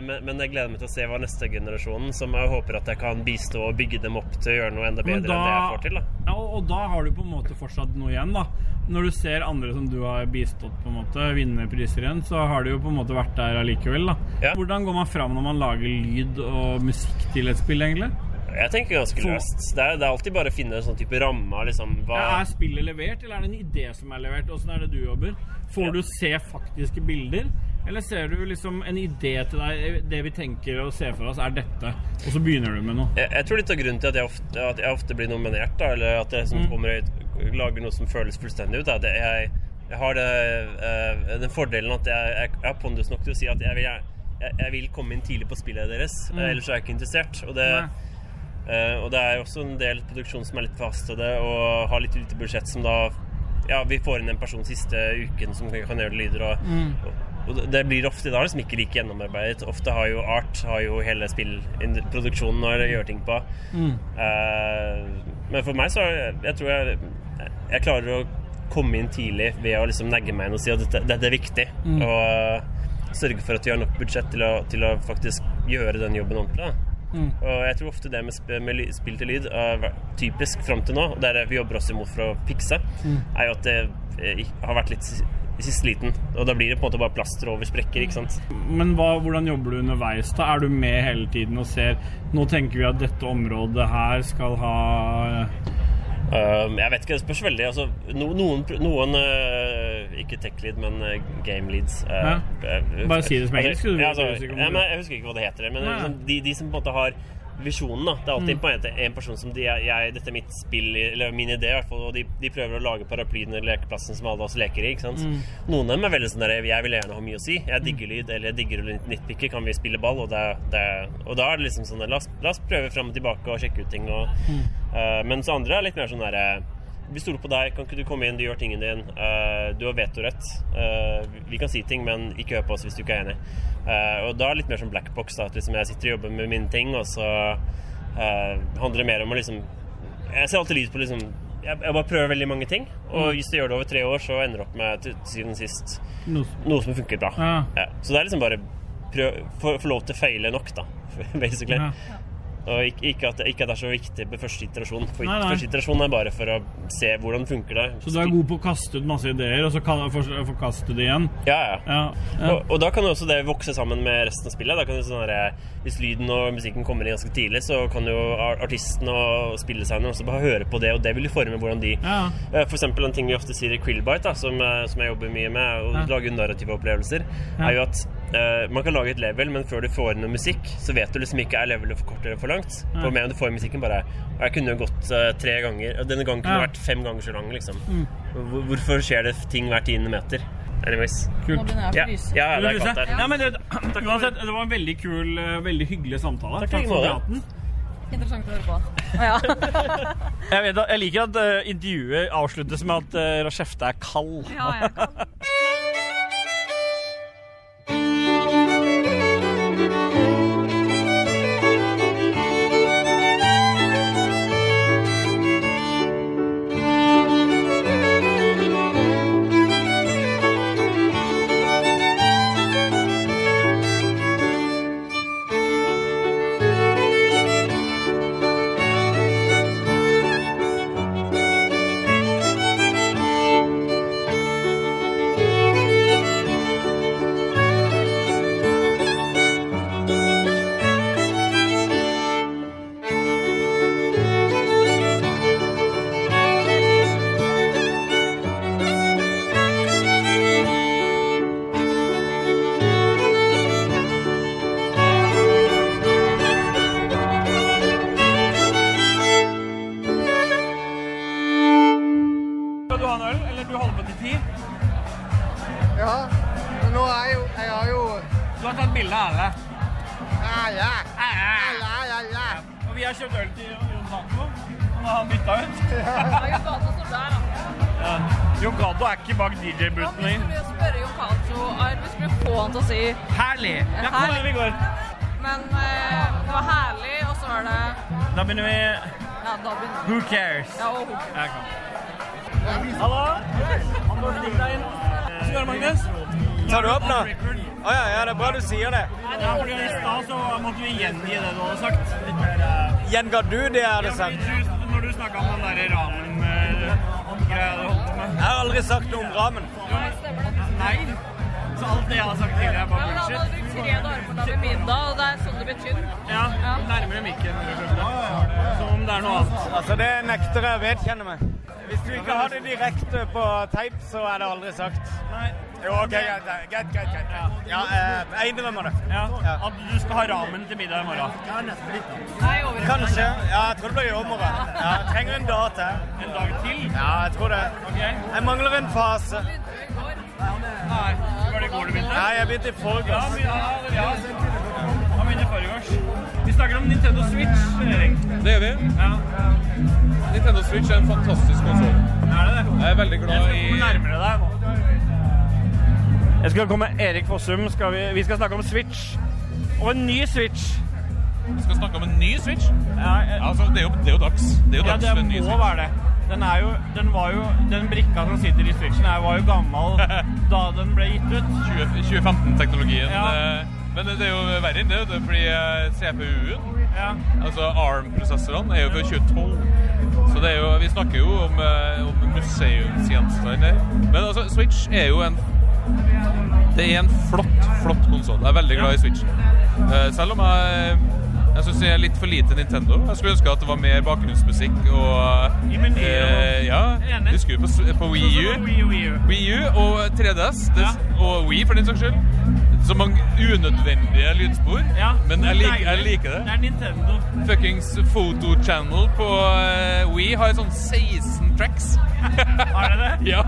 men, men jeg gleder meg til å se hva neste generasjon, som jeg håper at jeg kan bistå og bygge dem opp til å gjøre noe enda Men bedre enn det jeg får til. da Ja, og, og da har du på en måte fortsatt noe igjen, da. Når du ser andre som du har bistått, på en måte, vinne priser igjen, så har du jo på en måte vært der allikevel, da. Hvordan går man fram når man lager lyd og musikk til et spill, egentlig? Jeg tenker ganske For- løst. Det er, det er alltid bare å finne en sånn type ramme. Liksom, hva, Ja, er spillet levert, eller er det en idé som er levert? Åssen er det du jobber? Får du se faktiske bilder? Eller ser du liksom en idé til deg, det vi tenker og ser for oss, er dette? Og så begynner du med noe. jeg, jeg tror litt av grunnen til at jeg ofte, at jeg ofte blir nominert, da, eller at jeg liksom Mm. kommer og lager noe som føles fullstendig ut, er at jeg, jeg har det, eh, den fordelen at jeg, jeg, jeg har pondus nok til å si at jeg vil, gjerne- jeg, jeg vil komme inn tidlig på spillet deres, Mm. eh, ellers er jeg ikke interessert. Og det, eh, og det er jo også en del produksjon som er litt forhastede og har litt lite budsjett, som da Ja, vi får inn en person siste uken som kan gjøre lyder og Mm. og det- det blir ofte da liksom ikke like gjennomarbeidet. Ofte har jo art har jo hele spillproduksjonen å gjøre ting på. Mm. Eh, Men for meg så er jeg, jeg tror jeg, jeg klarer å komme inn tidlig ved å liksom negge meg inn og si at dette, dette er viktig. Mm. Og eh, sørge for at de har nok budsjett til å, til å faktisk gjøre den jobben ordentlig. Da. Mm. Og jeg tror ofte det med, sp med ly- spill til lyd har vært typisk fram til nå, og det er det vi jobber oss imot for å fikse, Mm. er jo at det eh, ikk- har vært litt s- i siste liten. Og da blir det på en måte bare plaster over sprekker, ikke sant. Men hva, hvordan jobber du underveis? da? Er du med hele tiden og ser Nå tenker vi at dette området her skal ha Um, jeg vet ikke, det spørs veldig. Altså, no, noen pr- noen øh, ikke tech lead, men øh, game leads. øh, Ja. øh, Bare si det som engelsk, du- ja, altså, du husker ikke om ja, det- men Jeg husker ikke hva det heter. Men Nei. liksom, de, de som på en måte har visjonen. da Det er alltid Mm. på en, måte en person som de er, jeg, Dette er mitt spill, eller min idé, i hvert fall. Og de, de prøver å lage paraplyen eller lekeplassen som alle oss leker i. Ikke sant? Mm. Noen av dem er veldig sånn der Jeg vil gjerne ha mye å si. Jeg digger lyd, eller jeg digger å nit- nitpicke. Kan vi spille ball? Og, det, er- det, er- og da er det liksom sånn der, la, oss, la oss prøve fram og tilbake og sjekke ut ting. Og, Eh, mens andre er litt mer sånn der eh, Vi stoler på deg, kan ikke du komme inn, du gjør tingen din. eh, du har vetorett. eh, vi kan si ting, men ikke hør på oss hvis du ikke er enig. Eh, og da er det litt mer sånn black box. Da, at liksom jeg sitter og jobber med mine ting, og så eh, handler det mer om å liksom Jeg ser alltid lys på liksom jeg, jeg bare prøver veldig mange ting, og Mm. hvis du gjør det over tre år, så ender det opp med til syvende og sist noe noe som funker bra. Ja. Ja. Så det er liksom bare prøv, få, få lov til å feile nok, da, basically. Ja. Og ikke, ikke, at, det- ikke at det er så viktig på første iterasjon. For Nei, nei. første iterasjon er bare for å se hvordan funker det. Så du er god på å kaste ut masse ideer, og så kan for- forkaste det igjen? Ja, ja. ja. Og, og da kan jo også det vokse sammen med resten av spillet. Da kan jo sånn der, hvis lyden og musikken kommer inn ganske tidlig, så kan jo ar- artisten og spilldesigneren også bare høre på det, og det vil jo forme hvordan de Ja. Eh, For eksempel en ting vi ofte sier i Krillbite, da, som, eh, som jeg jobber mye med, og Ja. lager narrative opplevelser, Ja. er jo at eh, man kan lage et level, men før du får inn noe musikk, så vet du liksom ikke er levelet for kort eller for langt. Ja. For med du får musikken bare «Og Jeg kunne jo gått eh, tre ganger, og denne gangen kunne Ja. vært fem ganger så lang, liksom. Mm. Hvor- Hvorfor skjer det ting hver tiende meter? Anyways. Kult. Nå begynner jeg å fryse. Ja, ja, det er kaldt her. Nei, men det, uansett, det var en veldig kul, eh, veldig hyggelig samtale. Takk i like for måte. praten. Interessant å høre på. Ja. Jeg, vet, at- jeg liker at eh, intervjuet avsluttes med at uh, Rashefte er kald. Ja, jeg er Skal du ha en øl, eller du holder på til ti? Ja, men nå er jo Jeg har jo Du har tatt bilde av alle. Ja, ja. Ja, ja, ja. Og vi har kjøpt øl til Jon Cato. Han har bytta ut. Ja. Jon Cato er ikke bak DJ-booten lenger. Vi spørre Jon Cato Arv skulle få han til å si Herlig! Ja, kom her vi går. Men eh, det var herlig, og så var det Da begynner vi Ja, da begynner Who cares? Ja, og hun. Jeg kan. Hallo! Anders, stikk deg inn. Hva skal du gjøre, Magnus? Tar du opp nå? Å ja, ja, det er bra du sier det. Ja, fordi I stad så måtte vi gjengi det du hadde sagt. Gjenga du det jeg hadde sagt? Når du snakka om den derre ramen-greia du holdt på med. Jeg har aldri sagt noe om ramen. Nei. Så alt det jeg har sagt tidligere, er Ja, bare men han hadde bullshit. brukt tre dager på å lage middag, og det er sånn det blir tynn. Ja, nærmere mikken. Som om det er noe annet. Altså, det nekter jeg å vedkjenne meg. Hvis du ikke har det direkte på teip, så er det aldri sagt. Nei. Jo, OK, greit, greit, greit. greit, greit. Ja, eh, jeg innrømmer det. Ja, At du skal ha ramen til middag i morgen. Kanskje. Ja, jeg tror det blir i overmorgen. Ja, jeg trenger en dag til. En dag til? Ja, jeg tror det. Jeg mangler en fase. Nei. Var det i går du begynte? Nei, jeg begynte i Ja, forgårs. men ja, ja. Han begynte i forgårs. Vi snakker om Nintendo Switch. Erik. Det gjør vi. Nintendo Switch er en fantastisk konsoll. Er det det? Jeg er veldig glad i Kom nærmere deg nå. Jeg skal komme Erik Fossum. Skal vi, vi skal snakke om Switch. Og en ny Switch. Vi skal snakke om en ny Switch. Altså, det er jo, det er jo dags. Det er jo Ja, dags det for en ny må Switch. være det. Den, er jo, den var jo Den brikka som sitter i switchen, her var jo gammel da den ble gitt ut. 2015-teknologien. Ja. eh, Men det er jo verre enn det, vet du, fordi eh, CPU-en, altså ARM-prosessorene, er jo fra 2012. Så det er jo, vi snakker jo om, eh, om museumsgjenstander. Men altså, Switch er jo en Det er en flott, flott konsoll. Jeg er veldig glad i Switchen. Eh, Selv om jeg jeg syns jeg er litt for lite Nintendo. Jeg skulle ønske at det var mer bakgrunnsmusikk og I menyen og- eh, Ja. Enig. Vi skulle jo på, s- på Wii U. Sånn som Wii U, Wii U. Wii U og 3DS det, og Wii, for den saks skyld. Så mange unødvendige lydspor. men jeg, lik, jeg liker det. Det er Nintendo. Fuckings Photo Channel på eh, Wii har sånn 16 tracks. Har det det? ja.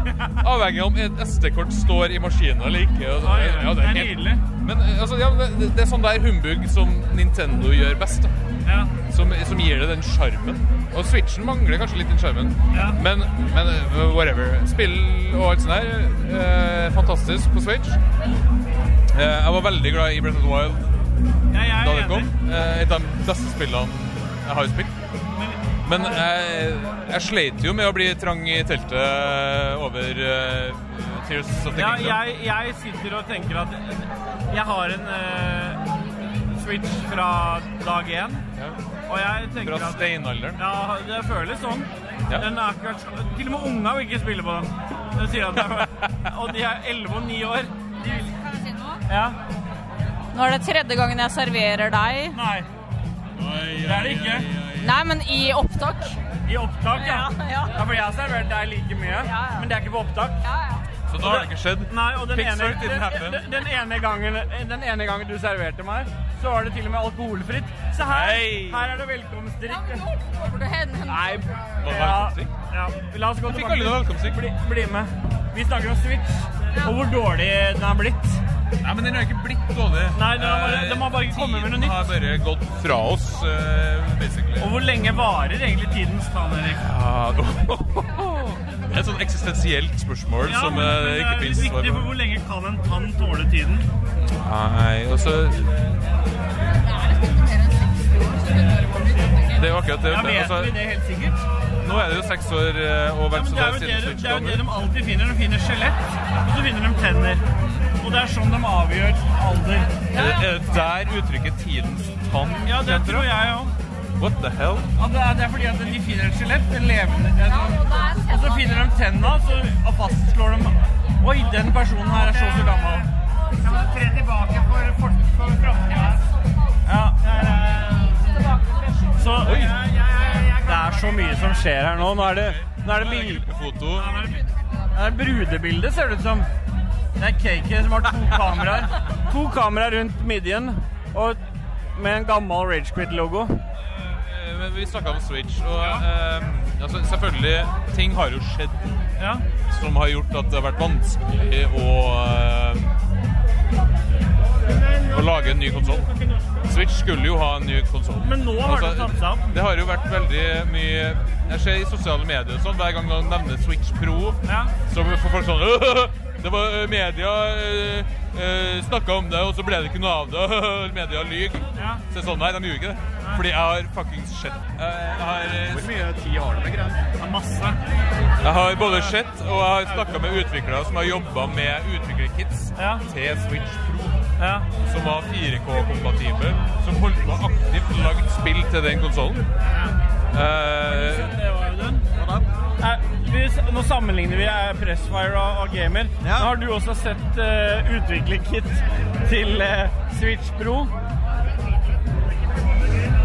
Avhengig av om et SD-kort står i maskinen eller ikke. og så- Oi, oi, det er helt- nydelig. Men eh, altså, ja, men det, det er sånn der humbug som Nintendo gjør best. da. Som, som gir det den sjarmen. Og Switchen mangler kanskje litt den sjarmen. Men, men eh, whatever. Spill og alt sånt der. eh, fantastisk på Switch. Mm. Eh, jeg var veldig glad i Breath of the Wild da det kom. Eh, et av de beste spillene jeg har spilt. Men jeg, jeg sleit jo med å bli trang i teltet over eh, Tears of the Ja, Kingdom. jeg, jeg sitter og tenker at jeg har en eh, switch fra dag én. Og jeg tenker Fra at steinalderen. Ja, det føles sånn. Ja. Den er akkurat, sånn. til og med unga vil ikke spille på den. De sier at det er, og de er 11 og 9 år. De vil, Kan jeg si noe? ja. Nå er det tredje gangen jeg serverer deg. Nei. Det er det ikke. Nei, men i opptak. I opptak, ja. Ja, ja. ja. for jeg har servert deg like mye, men det er ikke på opptak. Så da har det ikke skjedd. Nei, og den ene, Pixar didn't happen. den, den- den, ene gangen, den ene gangen du serverte meg, så var det til og med alkoholfritt. Så her, Hei. her er det velkomstdrikk. Nei, Var det ja, velkomstdrikk? ja. La oss gå Jeg fikk tilbake. aldri noe velkomstdrikk. Bli, bli med. Vi snakker om Switch, og hvor dårlig den er blitt. Nei, men den er ikke blitt dårlig. Nei, den har bare, den har bare ikke kommet med noe Den Eh, har nytt. bare gått fra oss, eh, basically. Og hvor lenge varer egentlig tidens tann, Erik? Ja, det er et sånn eksistensielt spørsmål Ja, som men- eh, men det ikke er finnes svar viktig, for på. hvor lenge kan en tann tåle tiden? Nei, og så Det er jo akkurat det. Ja, vet altså, vi det helt sikkert? nå er det jo seks år eh, og Ja, vel men så det det er jo er det, siden Switch det, er jo kom det ut. de alltid finner. De finner skjelett, og så finner de tenner. Og det er sånn de avgjør alder. Er det- er det Eh, der uttrykket 'tidens tann' Ja, det kommer fra? tror jeg òg. What the hell? At det, er, det er fordi at de finner et skjelett, en levende en, Og så finner de tenna, så og fastslår de Oi, den personen her er så så gammel. Kan du tre tilbake for, for, for framtida? Ja. Så Oi. Det er så mye som skjer her nå. Nå er det, nå er det bildefoto. Det er brudebilde, ser det ut som. Det er Cakey som har to kameraer. To kameraer rundt midjen og med en gammel Ragequit-logo. Eh, men Vi snakka om Switch, og eh, altså, selvfølgelig Ting har jo skjedd som har gjort at det har vært vanskelig å eh, å lage en ny konsoll. Switch skulle jo ha en ny konsoll. Altså, Men nå har det tatt seg opp. Det har jo vært veldig mye Jeg ser i sosiale medier og sånn, hver gang noen nevner Switch Pro, så får folk sånn «Øh, Det var øh, media øh, øh, snakka om det, og så ble det ikke noe av det. «Øh, media lyver. Så det er sånn, nei, de gjorde ikke det. Fordi jeg har fuckings sett Jeg har, eh, Hvor mye tid har du med greier? Masse. jeg har både sett og jeg har snakka med utviklere som har jobba med utviklerkits til Switch Pro, som var 4K-kompatibel, som holdt på aktivt lagd spill til den konsollen. Eh, Det var jo den. Eh, vi, nå sammenligner vi eh, Pressfire og, og Gamer. Nå har du også sett uh, utviklekit til eh, Switch Pro.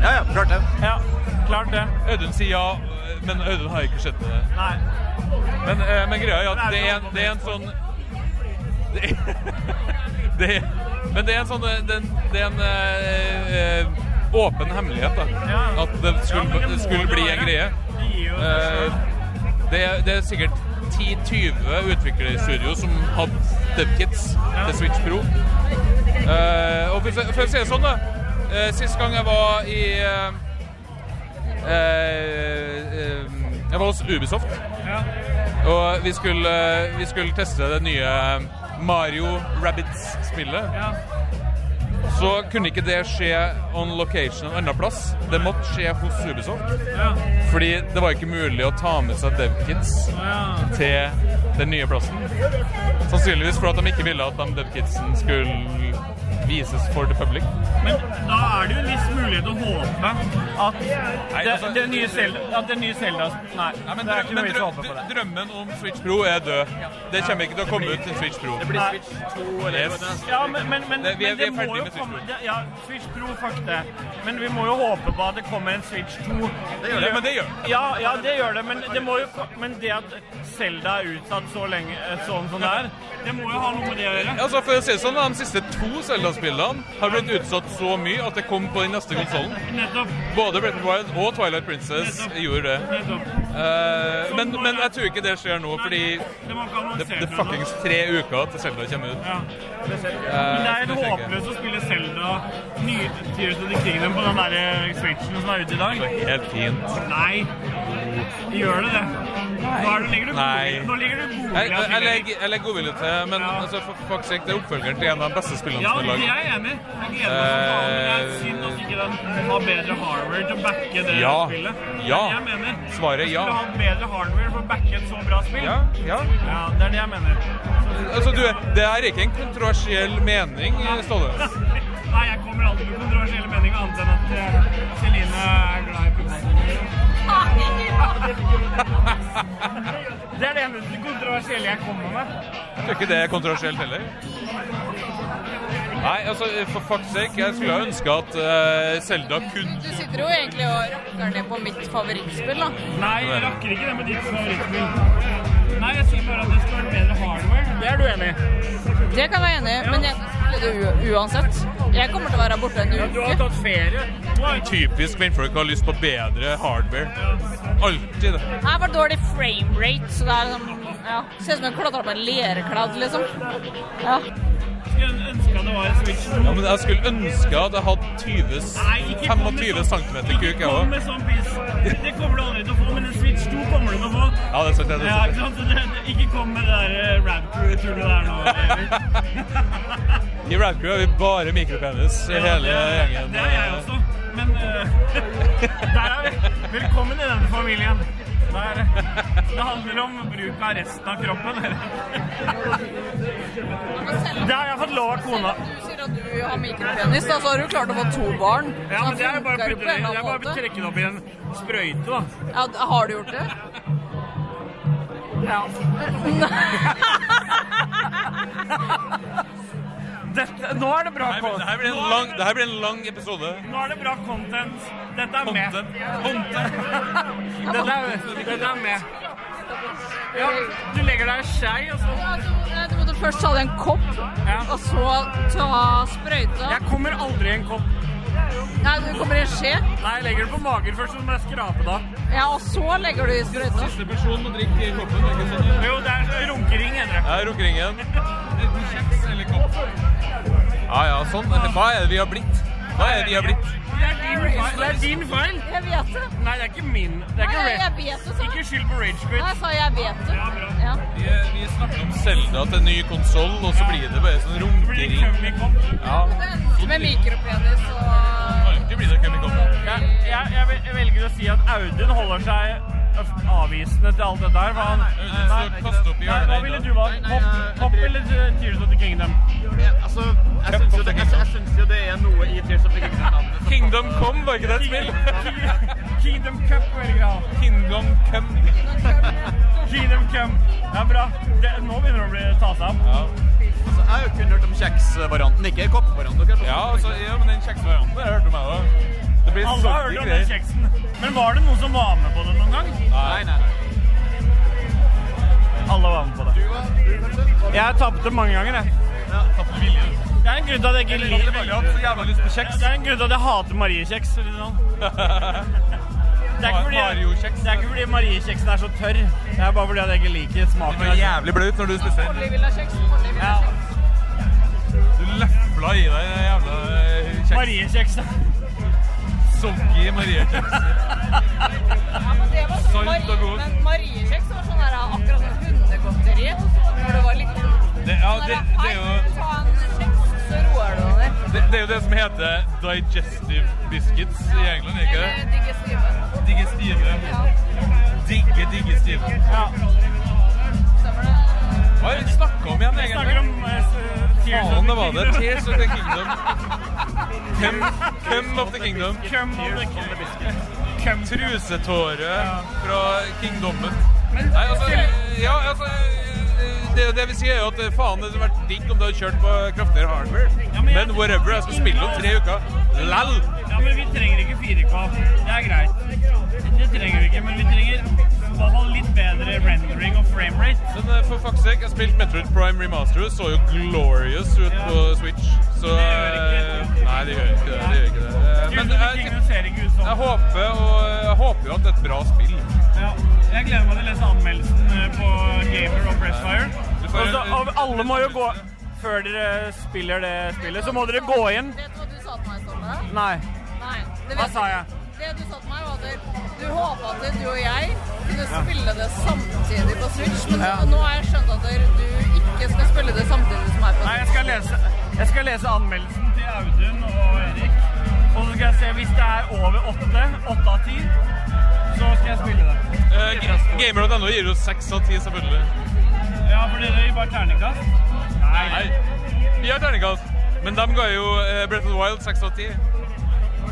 ja, ja, klart det. Ja, klart det. Audun sier ja, men Audun har ikke sett det. Nei. Men, eh, men greia er at det er, en- det er en sånn det er, det er, Men det er en sånn eh, Det, det er en eh, eh, åpen hemmelighet, da. At det skulle, det skulle bli en greie. Eh, det, er- det er sikkert 10-20 utviklerstudio som hadde devkits til Switch Pro. Eh, og for, for å si det sånn, da. eh, sist gang jeg var i eh, Eh, eh, jeg var hos Ubisoft. Og vi skulle, vi skulle teste det nye Mario Rabbits-spillet. så kunne ikke det skje on location en annen plass. Det måtte skje hos Ubisoft. Ja. Fordi det var ikke mulig å ta med seg DevKids Ja. til den nye plassen. Sannsynligvis fordi de ikke ville at de DevKidsen skulle vises for the public. Men da er det jo en viss mulighet å håpe at det, det nye Zelda At det nye altså, Zelda Nei, men det drøm- er men ikke noe vits å drøm- håpe på det. Drømmen om Switch Pro er død. Det kommer ikke til å komme ut til Switch Pro. Det blir Switch 2 Ja, men, men, men, Det- vi er- men det vi er må ferdig jo med Switch komme Pro. det- Ja, Switch Pro, fuck det. Men vi må jo håpe på at det kommer en Switch 2. Det gjør det. Ja, men det gjør det. Ja, ja, det gjør det. Men det, må jo, ko- men det at Selda er utsatt så lenge eh, sånn som det er, det må jo ha noe med det å gjøre. Altså, for å si det sånn, De siste to Zelda-spillene har blitt utsatt så mye at det kom på den neste konsollen. Nettopp. Både Breath of the Wild og Twilight Princess gjorde det. Eh, men, men jeg tror ikke det skjer nå, fordi Det må det, ikke annonsere det er ennå. fuckings tre uker til Zelda kommer ut. Ja. Eh, Men det er det helt skjer ikke. håpløst å spille Zelda nye Tears of the Kingdom på den der eh, Switchen som er ute i dag. Helt fint. Nei, gjør det det? Hva er det, ligger du Nei. Nå ligger du Jeg, godvillig jeg, jeg, legger- jeg legger godvilje til, men altså, for fuck's sake, det er oppfølgeren til en av de beste spillene Ja, som er det laget. er jeg enig. i. Jeg gleder Eh, meg som faen. men Det er synd at ikke den har bedre hardware til å backe det Ja. spillet. Ja. Det er det jeg mener. Svaret er Du ja. Skulle ha bedre hardware for å backe et så bra spill. Ja, ja. det er det jeg mener. Altså, du, det er ikke en kontroversiell mening, Ståle. Nei, jeg kommer alltid med kontroversielle meninger annet enn at eh, Celine er glad i pupper. Det er det eneste kontroversielle jeg kommer med. Jeg tror ikke det er kontroversielt heller. Nei, altså, for fuck's sake, jeg skulle ha ønska at eh, Zelda kunne Du sitter jo egentlig og rakker ned på mitt favorittspill, da. Nei, jeg rakker ikke det med ditt favorittspill. Nei, jeg sier bare at det skal være bedre hardware. Det er du enig i? Det kan jeg være enig i, men jeg skal spille det u uansett. Jeg kommer til å være borte en uke. Du har tatt ferie. Typisk kvinnfolk har lyst på bedre hardware. Alltid. det. Jeg var dårlig framerate, så det er liksom ja. Ser ut som jeg klatra på en lerkladd, liksom. Ja. Skulle ønske at det var en Switch 2. Ja, men jeg skulle ønske at jeg hadde 20, Nei, ikke kom med 25 sånn- cm kuk, jeg Kom òg. med sånn piss. Det kommer du aldri til å få, men en Switch 2 kommer du til å få. Ja, det er sant, det er Ja, sant. ikke sant? Så Det, det, ikke kom med det der uh, Radcrew-tullet der nå. Erik. I Radcrew har vi bare mikropenis i hele gjengen. Det er jeg også. Men eh, der er vi. Velkommen i denne familien. Der, det handler om bruk av resten av kroppen. Det har jeg fått lov av kona. Du sier at du har mikropenis, da, så altså, har du klart å få to barn. Ja, men det er jo bare å funker putte det- på det er en eller bare å annen måte. trekke det opp i en sprøyte, da. Ja, d- har du gjort det? Ja. Dette, nå er det bra Nei, men Det her blir en lang, det her blir en lang episode. Nå er det bra content. Dette er med. Dette er, dette er med. Ja, du legger deg en skei, altså. og så Ja, du, du måtte først ta deg en kopp, og så ta sprøyta. Jeg kommer aldri i en kopp. Nei, du kommer i en skje. Nei, jeg legger det på magen først, så må jeg skrape det av. Ja, og så legger du i sprøyta. Siste person må drikke i koppen, ikke sant? sånn? Jo, det er runkering, heter det. Jeg rukker ringen. Ja, ja, sånn. Hva er det vi har blitt? Hva er det vi har blitt? Det er din feil. Det er din feil. Jeg vet det. Nei, det er ikke min. Det er ikke, Nei, Rage- jeg vet det, sa jeg. ikke skyld på rage Nei, jeg quit. sa jeg vet det. Ja. Vi, eh, vi snakker om Selda til ny konsoll, og så blir det bare sånn runkering. Ja, Med mikropenis og alltid blir det køm i koppen. Jeg, jeg, jeg, vel- jeg velger å si at Audun holder seg avvisende til alt dette her. For han, Audun står og kaster opp i Nei, hjørnet hva i ville dag. du valgt? Pop, pop eller eh, Tears of the Kingdom? Altså, jeg syns jo, det- jeg- jeg syns jo det er noe i Tears of the Kingdom-navnet. Kingdom Come, var ikke det et spill? Kingdom Cup velger jeg. å ha. Kingdom Come. Kingdom Come. Ja, bra. Det, nå begynner det å bli, ta seg opp. Altså, jeg har jo kun hørt om kjeksvarianten, ikke koppvarianten. dere. Ja, altså, ja, men den kjeksvarianten har jeg hørt om, jeg òg. Det blir Alle har hørt sorte om den greier. kjeksen. Men var det noen som var med på det noen gang? Nei, nei, nei. Alle var med på det. Jeg tapte mange ganger, jeg. Det er en grunn til at jeg ikke Jeg liker har så jævla lyst på kjeks. Det er en grunn til at jeg hater Marie-kjeks. for å si det sånn. Det er ikke fordi, Mario-kjeks. det er ikke fordi Marie-kjeksen er så tørr. Det er bare fordi at jeg ikke liker Det smaken. var jævlig blaut når du spiser. Polly vil ha kjeks. Polly vil ha kjeks. Du løfla i deg den jævla eh, kjeks. Marie-kjeks. Soggy Marie-kjeks. Ja, men det var sånn Salt og Marie, god. men Marie-kjeks var sånn der, akkurat som hundegodteri når du var liten. Det, ja, Sånn det, der, det er hei, jo ta en kjeks, så roer du deg ned. det, det er jo det som heter digestive biscuits i England, ikke det? Digestive. Digge, digestive. Ja. Hva er det vi snakket om igjen, Vi snakker egentlig? om eh, Tears of Faen, the det var det. Kingdom. Tears of the Kingdom. Cum, cum of the Kingdom. Cum of the Kingdom. Cum. Trusetåre fra kingdommen. Men- Nei, altså, ja, altså det, det vi sier er jo at eh, faen, det hadde vært digg om du hadde kjørt på kraftigere hardware. Men whatever, jeg skal spille om tre uker. Lell! Ja, men vi trenger ikke 4K. Det er greit. Det trenger vi ikke, men vi trenger i hvert fall litt bedre rendering og framerate. Men eh, for fuck's sake, jeg har spilt Metroid Prime Remastered, så jo glorious ut på Switch. Så eh, Nei, det gjør ikke det. det, gjør ikke det. Eh, Tears Men of the jeg, Kingdom ser ikke ut som jeg håper, og, jeg håper jo at det er et bra spill. Ja. Jeg gleder meg til å lese anmeldelsen eh, på Gamer og Pressfire. Du får- Og så, og alle må jo gå Før dere spiller det spillet, så må dere gå inn. Vet du hva du sa til meg, Sondre? Nei. Nei. det Hva vet sa du- jeg? Det du sa til meg, var at du håpa at du og jeg kunne spille det samtidig på Switch, men Ja. nå har jeg skjønt at du ikke skal spille det samtidig som meg på Nei, jeg skal lese, jeg skal lese anmeldelsen til Audun og Erik. Og så skal jeg se hvis det er over åtte, åtte av ti, så skal jeg spille det. Eh, Ga- Gamer.no gir jo seks av ti, selvfølgelig. Ja, for dere gir bare terningkast? Nei. Vi har terningkast, men de ga jo eh, Breath of the Wild seks av ti.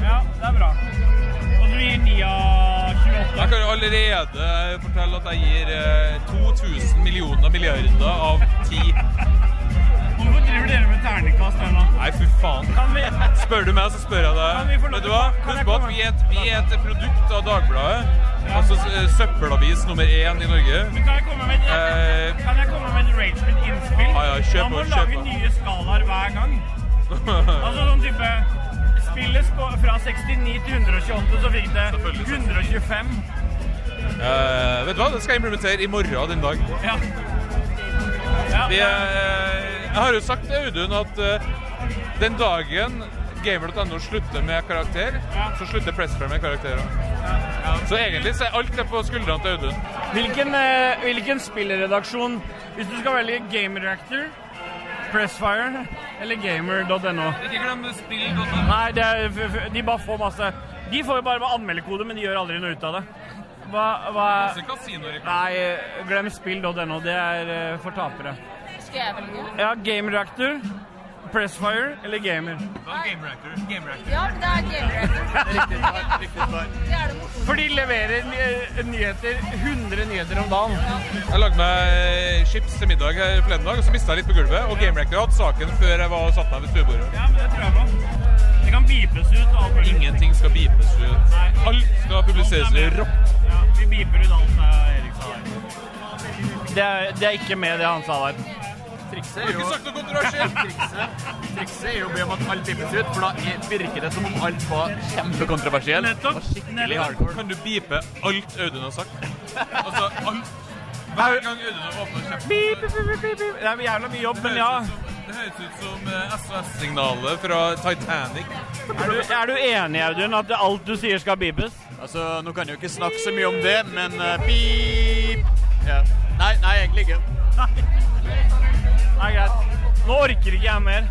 Ja, det er bra. Og du gir 9 av 28. Jeg kan jo allerede fortelle at jeg gir eh, 2000 millioner milliarder av ti. Hvorfor driver dere med terningkast ennå? Nei, fy faen. Kan vi, Spør du meg, så spør jeg Kan vi deg. få lov Vet du til hva? å- kan jeg Husk på at komme? vi er, et, vi er et produkt av Dagbladet. Altså eh, søppelavis nummer én i Norge. men kan jeg komme med et, Eh, kan jeg komme med et Ragefit-innspill? Ja, ja, kjør Man må på, kjør lage på. nye skalaer hver gang. Altså sånn type Spillet sko- fra 69 til 128, så fikk det 125. eh, vet du hva? Det skal jeg implementere i morgen den dag. Ja. Vi, eh, jeg har jo sagt til Audun at eh, den dagen gamer.no slutter med karakter, så slutter Pressfair med karakter òg. Så egentlig så er alt det på skuldrene til Audun. Hvilken, eh, hvilken spillredaksjon Hvis du skal velge Game Reactor, Pressfire eller gamer.no? Ikke glem Nei, det er, f- f- de bare får masse De får jo bare med anmeldekode, men de gjør aldri noe ut av det. Hva, hva Nei, eh, glem spill.no. Det er eh, for tapere. Skal jeg velge? Ja, Game Reactor, Pressfire eller Gamer? Game Reactor. Game Reactor. Ja, men det er gamereactor. Det er det morsomste. For de leverer ny- eh, nyheter 100 nyheter om dagen. Jeg lagde meg eh, chips til middag her forleden dag, og så mista jeg litt på gulvet. Og Game Reactor hadde saken før jeg var og satte meg ved stuebordet. Ja, men det tror jeg på. Det kan beepes ut. og alt mulig. Ingenting skal beepes ut. Alt skal publiseres i rock. Ja, vi beeper ut alt eh, Erik sa der. Det er, det er ikke med det han sa der. Trikset er jo Har ikke sagt noe kontroversielt. Trikset- Trikset er jo å be om at alt bippes ut, for da virker det som om alt var kjempekontroversielt. Nettopp. Skikkelig hardcore. Kan du beepe alt Audun har sagt? Altså alt. Hver gang Audun åpner kjeften. Beep, beep, beep, beep, beep. Det er jævla mye jobb, men ja. Det høres ut som eh, SOS-signalet fra Titanic. sånn Er du, er du enig, Audun, at alt du sier skal beepes? Altså, nå kan jeg jo ikke snakke så mye om det, men eh, pip. Ja. Nei, nei, egentlig ikke. Nei, greit. Nå orker ikke jeg mer.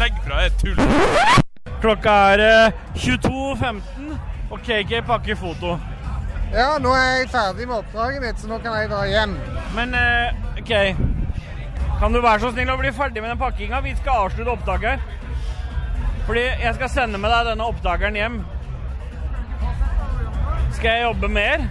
Legg fra deg tull. Klokka er eh, 22.15, og KK pakker foto. Ja, nå er jeg ferdig med oppdraget mitt, så nå kan jeg dra hjem. Men eh, OK. Kan du være så snill å bli ferdig med den pakkinga? Vi skal avslutte opptaket. Fordi jeg skal sende med deg denne opptakeren hjem. Skal jeg jobbe mer?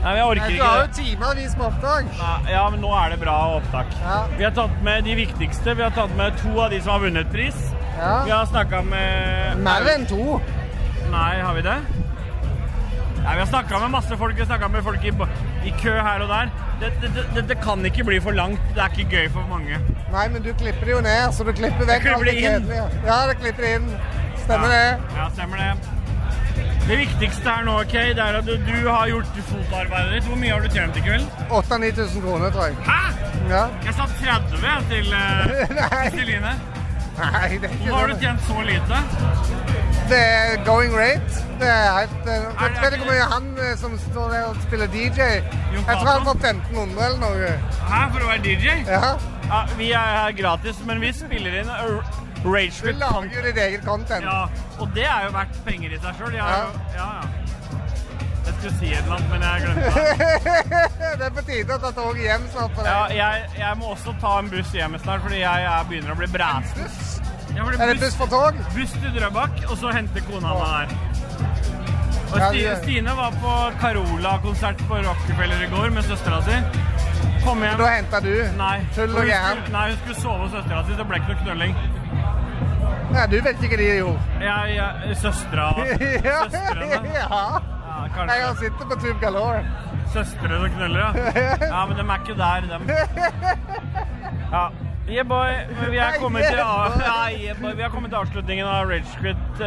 Nei, men jeg orker Nei, Du ikke har jo det. timevis med oppdrag. Nei, Ja, men nå er det bra opptak. Vi har tatt med de viktigste. Vi har tatt med to av de som har vunnet pris. Ja. Vi har snakka med Mer enn to. Nei, har vi det? Nei, Vi har snakka med masse folk. Vi har snakka med folk i, ba- i kø her og der. Dette det, det, det kan ikke bli for langt. Det er ikke gøy for mange. Nei, men du klipper det jo ned, så du klipper vekk klipper alt det det inn. kjedelige. Ja, du klipper det inn. Stemmer ja. det. Ja, stemmer det. Det viktigste her nå, Kay, det er at du, du har gjort fotarbeidet ditt. Hvor mye har du tjent i kveld? 8000-9000 kroner, tror jeg. Hæ? Ja. Jeg sa 30 jeg, til eh, Kristine. Nei, det er ikke Hvorfor har du tjent så lite? Det er going rate. Det er helt eh, Vet det vet du hvor mye han eh, som står der og spiller DJ Jeg tror han får 1500 eller noe. Hæ, for å være DJ? Ja. Vi er her gratis, men vi spiller inn Ragequit Du lager jo ditt eget content. Ja, og det er jo verdt penger i seg sjøl. Ja, ja, ja. Jeg skulle si et eller annet, men jeg glemte det. det er på tide å ta toget hjem snart på det. Ja, jeg, jeg må også ta en buss hjem snart, fordi jeg, jeg begynner å bli bræsen. Ja, fordi Er det buss for tog? Buss til Drøbak, og så henter kona meg der. Og Ja, Stine, det- Stine var på Carola-konsert på Rockefeller i går med søstera si. Kom hjem. Da henta du. Nei. Full for og hun gæren. skulle- Nei, hun skulle sove hos søstera si, så det ble ikke noe knølling. Nei, du vet ikke hva de gjorde. Jeg, jeg, søstera ja. Søstrene. Ja, Nei, kanskje. han sitter på Tube Galore. Søstre som knuller, ja. Ja, men de er ikke der, dem. Ja. Yeah, boy. Vi er kommet til, av- ja, yeah, boy. Vi er kommet til avslutningen av Ragequit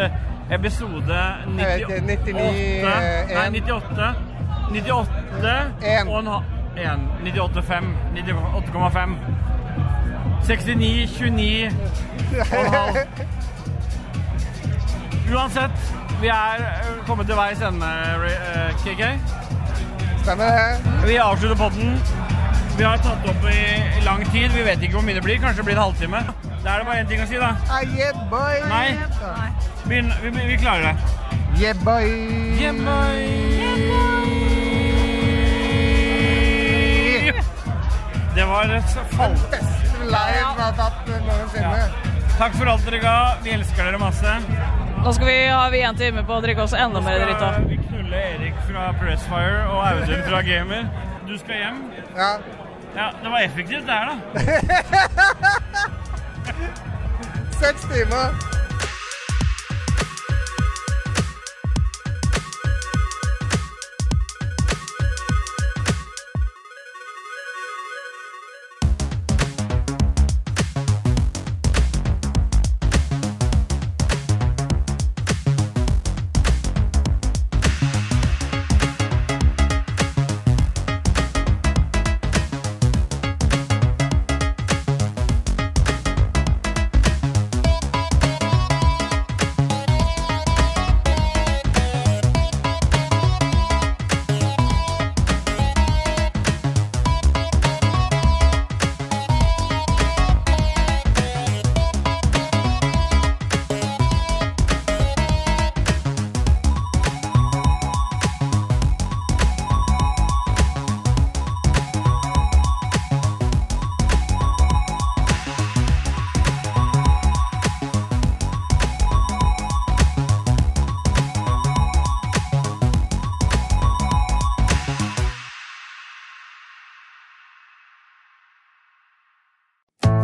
episode 98 Jeg vet ikke, 99, eh, Nei, en. 98. 98 og en halv 98,5. 98,5. 69, 29 og en halv. Uansett, vi er eh, kommet til veis ende, Ra- eh, KK. Stemmer det. Vi avslutter podden. Vi har tatt opp i i lang tid. Vi vet ikke hvor mye det blir. Kanskje det blir en halvtime. Da er det bare én ting å si, da. Ah, yeah, boy. Nei. Begynn- Vi, vi, vi klarer det. Yeah, boy. Yeah, boy. Det var et fall... Live har tatt noensinne. Takk for alt dere ga. Vi elsker dere masse. Nå skal vi ha vi en time på å drikke oss enda mer dritt av. Vi knuller Erik fra Pressfire og Audun fra Gamer. Du skal hjem. Ja. ja det var effektivt, det her, da. Seks timer.